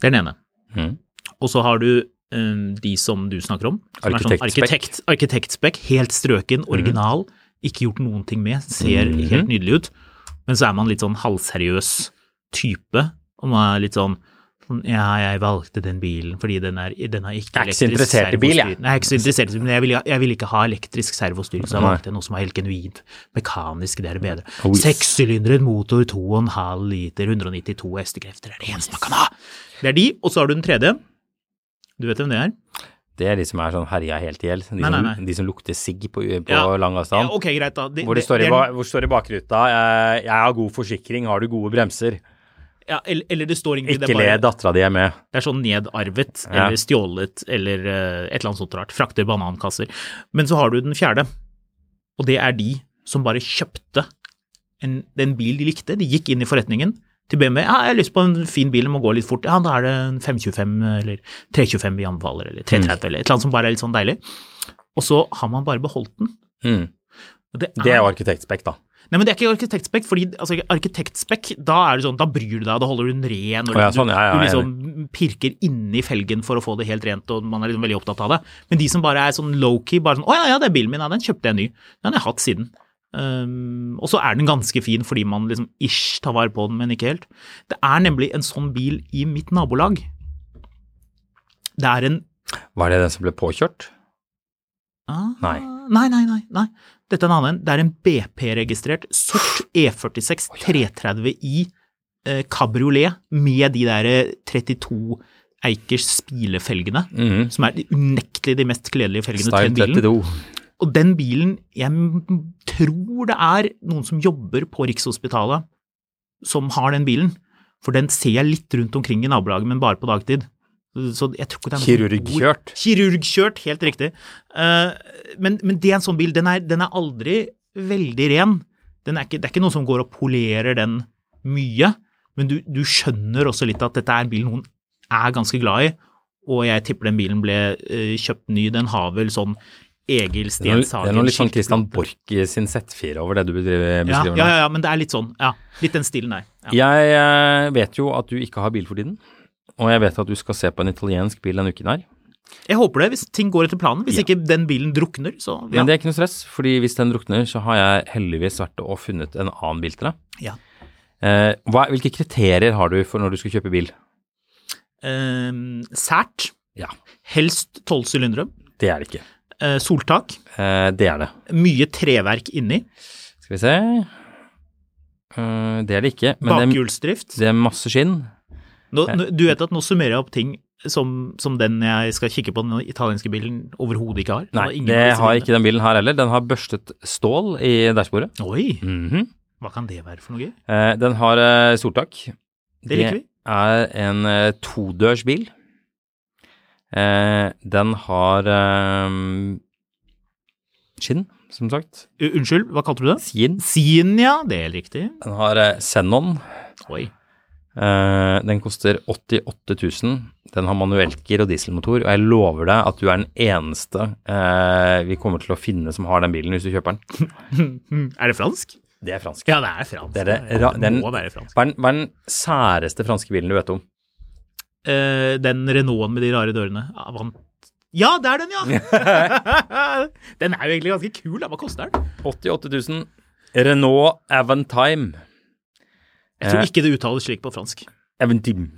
Speaker 2: Det er den ene.
Speaker 1: Mhm.
Speaker 2: Og så har du eh, de som du snakker om, som er sånn
Speaker 1: Arkitektspekk.
Speaker 2: arkitekt, arkitektspekk, helt
Speaker 1: Mm.
Speaker 2: strøken, original, ikke gjort noen ting med, ser
Speaker 1: Mhm.
Speaker 2: helt nydelig ut. Men så er man litt sånn halvseriøs type, og man er litt sånn sånn, ja, jeg valgte den bilen fordi den er, den er ikke
Speaker 1: Jeg er ikke så
Speaker 2: elektrisk
Speaker 1: interessert i bil, jeg.
Speaker 2: servostyrt. Nei, jeg er ikke så interessert i bil, men jeg vil, jeg vil ikke ha elektrisk servostyring, så jeg
Speaker 1: Nei.
Speaker 2: valgte noe som er helt genuint mekanisk, det er det bedre.
Speaker 1: Oh, yes.
Speaker 2: Sekssylindret motor, 2,5 liter, 192 hestekrefter, det er det eneste man kan ha. Det er de, og så har du den tredje. Du vet hvem det er?
Speaker 1: Det er de som er sånn herja helt i hjel. De,
Speaker 2: Nei, nei,
Speaker 1: som-
Speaker 2: nei.
Speaker 1: de som lukter sigg på, på
Speaker 2: Ja.
Speaker 1: lang avstand.
Speaker 2: Ja, ok, greit da. Det-
Speaker 1: Sånn. Hvor det står i,
Speaker 2: er-
Speaker 1: ba- hvor står i bakruta eh, 'Jeg har god forsikring, har du gode bremser?'
Speaker 2: ja, eller, eller det står egentlig,
Speaker 1: Ikke
Speaker 2: det
Speaker 1: le,
Speaker 2: er, bare,
Speaker 1: dattera di er med.
Speaker 2: det er sånn nedarvet,
Speaker 1: Ja.
Speaker 2: eller stjålet, eller eh, et eller annet sånt rart. Frakter banankasser. Men så har du den fjerde, og det er de som bare kjøpte en, den bil de likte. De gikk inn i forretningen til BMW. Ja, jeg har lyst på en fin bil, den må gå litt fort. Ja, da er det en 525 eller 325 vi anbefaler, eller
Speaker 1: Mm.
Speaker 2: 330 eller et eller annet som bare er litt sånn deilig. Og så har man bare beholdt den.
Speaker 1: Mm.
Speaker 2: Og
Speaker 1: Det er jo arkitektspekk, da.
Speaker 2: Nei, men det er ikke arkitektspekk, fordi altså, arkitektspekk, da er det sånn, da bryr du deg, da holder du den ren, og
Speaker 1: Å ja,
Speaker 2: du-
Speaker 1: sånn, ja, ja,
Speaker 2: du
Speaker 1: jeg er
Speaker 2: liksom pirker inni felgen for å få det helt rent, og man er liksom veldig opptatt av det. Men de som bare er sånn low-key, bare sånn, å ja, ja, det er bilen min, ja, den kjøpte jeg ny, den har jeg hatt siden. Ehm, og så er den ganske fin, fordi man liksom ish tar vare på den, men ikke helt. Det er nemlig en sånn bil i mitt nabolag. Det er en,
Speaker 1: Var det den som ble påkjørt?
Speaker 2: ah,
Speaker 1: Nei.
Speaker 2: nei, nei, nei, nei. Dette er en annen en. Det er en BP-registrert sort E46 330i eh, kabriolet med de der eh, 32 eikers spilefelgene,
Speaker 1: Mm.
Speaker 2: som er de- unektelig de mest kledelige felgene til
Speaker 1: Style
Speaker 2: den bilen.
Speaker 1: 32.
Speaker 2: Og den bilen, jeg m- tror det er noen som jobber på Rikshospitalet som har den bilen, for den ser jeg litt rundt omkring i nabolaget, men bare på dagtid. Så jeg tror ikke det er noen god-
Speaker 1: Kirurgkjørt.
Speaker 2: Kirurgkjørt, helt riktig. Eh, men, men det er en sånn bil. Den er, den er aldri veldig ren. Den er ikke, det er ikke noen som går og polerer den mye, men du, du skjønner også litt at dette er en bil noen er ganske glad i, og jeg tipper den bilen ble eh, kjøpt ny. Den har vel sånn Egil
Speaker 1: Det er noe- det
Speaker 2: Stenshagen
Speaker 1: er noe litt sånn Christian Borch i sin Z4 over det du bedriver-
Speaker 2: ja,
Speaker 1: beskriver
Speaker 2: ja,
Speaker 1: nå.
Speaker 2: ja, men det er litt sånn. Ja, litt den stilen der. Ja.
Speaker 1: Jeg eh, vet jo at du ikke har bil for tiden, og jeg vet at du skal se på en italiensk bil denne uken her.
Speaker 2: Jeg håper det, hvis ting går etter planen. Hvis ikke den bilen drukner, så ja.
Speaker 1: Men det er ikke noe stress, fordi hvis den drukner, så har jeg heldigvis vært og funnet en annen bil til deg.
Speaker 2: ja.
Speaker 1: Eh, hva, hvilke kriterier har du for når du skal kjøpe bil?
Speaker 2: Ehm, sært.
Speaker 1: Ja,
Speaker 2: Helst tolv sylindere.
Speaker 1: det er det ikke.
Speaker 2: Eh, soltak.
Speaker 1: Eh, det er det.
Speaker 2: Mye treverk inni.
Speaker 1: Skal vi se Eh, Det er det ikke. Men det er,
Speaker 2: Bakhjulsdrift.
Speaker 1: det er masse skinn.
Speaker 2: Nå, nå, du vet at nå summerer jeg opp ting som, som den jeg skal kikke på, den italienske bilen, overhodet ikke har. Den
Speaker 1: Nei,
Speaker 2: ingen av
Speaker 1: det
Speaker 2: disse
Speaker 1: har
Speaker 2: bilene.
Speaker 1: ikke den bilen her heller. Den har børstet stål i dashbordet.
Speaker 2: Oi,
Speaker 1: Mhm.
Speaker 2: hva kan det være for noe gøy?
Speaker 1: Eh, den har eh, soltak.
Speaker 2: Det liker vi.
Speaker 1: er en eh, todørs bil. Eh, den har eh, skinn, som sagt.
Speaker 2: U- Unnskyld, hva kalte du det?
Speaker 1: Skinn.
Speaker 2: Sien, ja. Det er riktig.
Speaker 1: Den har eh, xenon.
Speaker 2: Oi.
Speaker 1: Eh, den koster 88 000. Den har manuellgir og dieselmotor, og jeg lover deg at du er den eneste eh, vi kommer til å finne som har den bilen, hvis du kjøper den.
Speaker 2: Er det fransk?
Speaker 1: Det er fransk.
Speaker 2: Ja, det er fransk.
Speaker 1: Det er det ra-
Speaker 2: det
Speaker 1: den-
Speaker 2: må være fransk.
Speaker 1: Hva er den, hva er den særeste franske bilen du vet om?
Speaker 2: Eh, den Renaulten med de rare dørene. Avant. Ja, det er den, ja! den er jo egentlig ganske kul. Da. Hva koster den?
Speaker 1: 88 000. Renault Aventime.
Speaker 2: Jeg tror
Speaker 1: Eh.
Speaker 2: ikke det uttales slik på fransk.
Speaker 1: Eventim.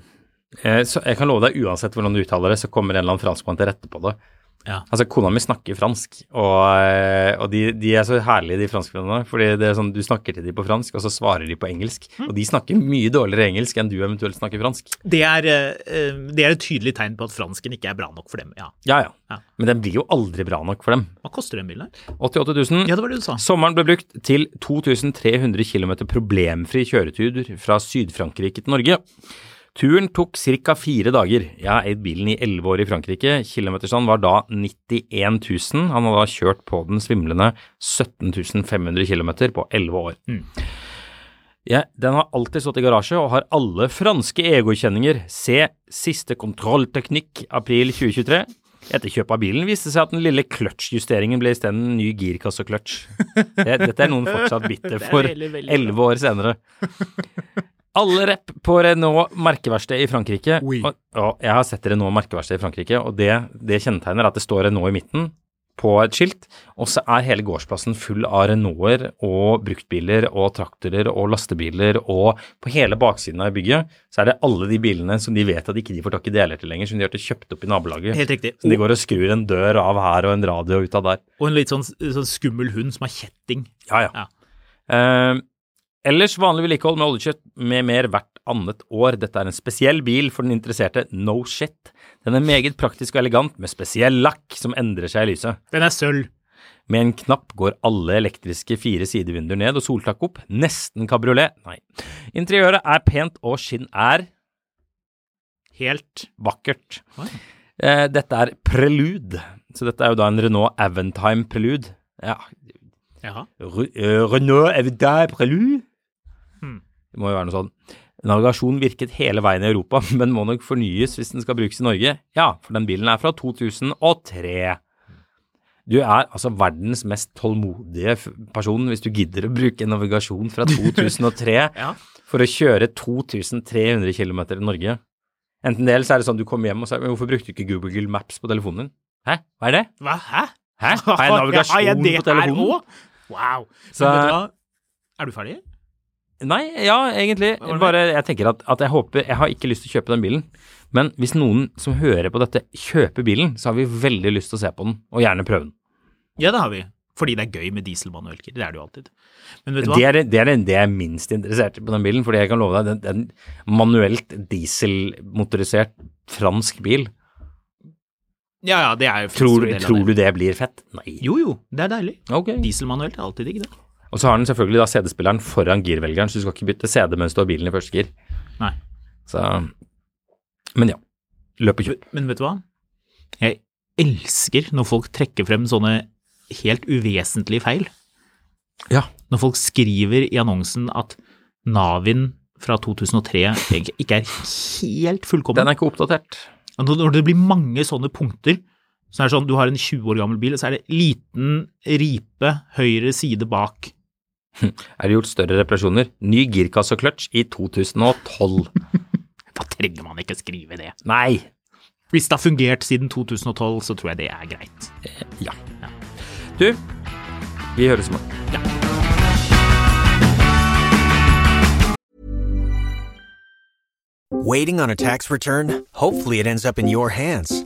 Speaker 1: Eh, så jeg kan love deg, uansett hvordan du uttaler det, så kommer en eller annen franskmann til rette på det.
Speaker 2: Ja.
Speaker 1: Altså, kona mi snakker fransk, og, eh, og de, de er så herlige, de franskmennene. Fordi det er sånn, du snakker til de på fransk, og så svarer de på engelsk.
Speaker 2: Mm.
Speaker 1: Og de snakker mye dårligere engelsk enn du eventuelt snakker fransk.
Speaker 2: Det er, eh, eh, det er et tydelig tegn på at fransken ikke er bra nok for dem. Ja.
Speaker 1: Ja, ja.
Speaker 2: Ja.
Speaker 1: Men den blir jo aldri bra nok for dem.
Speaker 2: Hva koster den bilen her?
Speaker 1: 88 000.
Speaker 2: Ja, det var det du sa.
Speaker 1: Sommeren ble brukt til 2300 km problemfri kjøretur fra Syd-Frankrike til Norge. Turen tok ca. fire dager. Jeg har eid bilen i elleve år i Frankrike. Kilometerstand var da 91 000. Han hadde da kjørt på den svimlende 17 500 km på elleve år. Ja, den har alltid stått i garasje og har alle franske egokjenninger. Se siste kontrollteknikk april 2023. Etter kjøp av bilen viste det seg at den lille kløtsjjusteringen ble isteden en ny girkassekløtsj. Det, dette er noen fortsatt bitter for
Speaker 2: veldig, veldig bra.
Speaker 1: elleve år senere. Alle rep på Renault merkeverksted i Frankrike.
Speaker 2: Oui.
Speaker 1: Og, og jeg har sett Renault merkeverksted i Frankrike, og det, det kjennetegner at det står Renault i midten på et skilt, og så er hele gårdsplassen full av Renaulter og bruktbiler og traktorer og lastebiler, og på hele baksiden av bygget så er det alle de bilene som de vet at ikke de får tak i deler til lenger, som de har til kjøpt opp i nabolaget.
Speaker 2: Helt riktig.
Speaker 1: Så de går og skrur en dør av her og en radio ut av der.
Speaker 2: Og en litt sånn, sånn skummel hund som har kjetting.
Speaker 1: Ja, ja.
Speaker 2: Ja.
Speaker 1: Eh, ellers vanlig vedlikehold med oljekjøtt med mer hvert annet år. Dette er en spesiell bil for den interesserte. No shit. Den er meget praktisk og elegant, med spesiell lakk som endrer seg i lyset.
Speaker 2: Den er sølv.
Speaker 1: Med en knapp går alle elektriske fire sidevinduer ned og soltak opp. Nesten kabriolet. Nei. Interiøret er pent, og skinn er
Speaker 2: Helt.
Speaker 1: vakkert.
Speaker 2: Oi.
Speaker 1: Eh, dette er Prelude. Så dette er jo da en Renault Aventime Prelude. Ja,
Speaker 2: Jaha.
Speaker 1: Re eh, Renault Aventime Prelude?
Speaker 2: Hmm.
Speaker 1: Det må jo være noe sånn. Navigasjon virket hele veien i Europa, men må nok fornyes hvis den skal brukes i Norge. Ja, for den bilen er fra 2003. Du er altså verdens mest tålmodige f- person hvis du gidder å bruke navigasjon fra 2003
Speaker 2: Ja.
Speaker 1: for å kjøre 2300 km i Norge. Enten det, eller så er det sånn du kommer hjem og sier Men hvorfor brukte du ikke Google Maps på telefonen din? Hæ, hva er det?
Speaker 2: Hva? Hæ?
Speaker 1: Hæ? Har jeg navigasjon
Speaker 2: Har jeg det
Speaker 1: på telefonen?
Speaker 2: her også? Wow. Men
Speaker 1: Så-
Speaker 2: vet du hva? Er du ferdig?
Speaker 1: Nei, ja, egentlig.
Speaker 2: Hva var det?
Speaker 1: Bare jeg tenker at, at jeg håper Jeg har ikke lyst til å kjøpe den bilen. Men hvis noen som hører på dette, kjøper bilen, så har vi veldig lyst til å se på den, og gjerne prøve den.
Speaker 2: Ja, det har vi. Fordi det er gøy med dieselmanuelker. Det er det jo alltid. Men vet du hva?
Speaker 1: Det er det, er det jeg er minst interessert i på den bilen, fordi jeg kan love deg, det er en manuelt dieselmotorisert fransk bil.
Speaker 2: Ja, ja, det er jo
Speaker 1: Tror,
Speaker 2: en del av
Speaker 1: tror
Speaker 2: det.
Speaker 1: du det blir fett? Nei.
Speaker 2: Jo, jo, det er deilig.
Speaker 1: Ok.
Speaker 2: Dieselmanuelt er alltid digg, det.
Speaker 1: Og så har den selvfølgelig da CD-spilleren foran girvelgeren, så du skal ikke bytte CD mens du har bilen i første gir.
Speaker 2: Nei.
Speaker 1: Så Men ja. Løp og kjøp.
Speaker 2: Men vet du hva? Jeg elsker når folk trekker frem sånne helt uvesentlige feil.
Speaker 1: Ja.
Speaker 2: Når folk skriver i annonsen at Navin fra 2003 egentlig ikke er helt fullkommen.
Speaker 1: Den er ikke oppdatert.
Speaker 2: Og Når når det blir mange sånne punkter, så er det sånn du har en 20 år gammel bil, og så er det liten ripe høyre side bak.
Speaker 1: Er det gjort større reparasjoner? Ny girkasse og clutch i 2012.
Speaker 2: Da trenger man ikke skrive det.
Speaker 1: Nei.
Speaker 2: Hvis det har fungert siden 2012, så tror jeg det er greit.
Speaker 1: Ja. Du, vi høres i morgen.
Speaker 5: Waiting on a tax return? Hopefully, it ends up in your hands.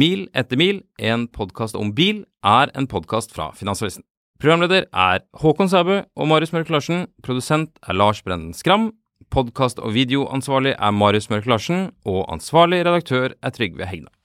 Speaker 1: Mil etter mil, en podkast om bil, er en podkast fra Finansavisen. Programleder er Håkon Sæbø og Marius Mørk Larsen. Produsent er Lars Brenden Skram. Podkast- og videoansvarlig er Marius Mørk Larsen. Og ansvarlig redaktør er Trygve Hegna.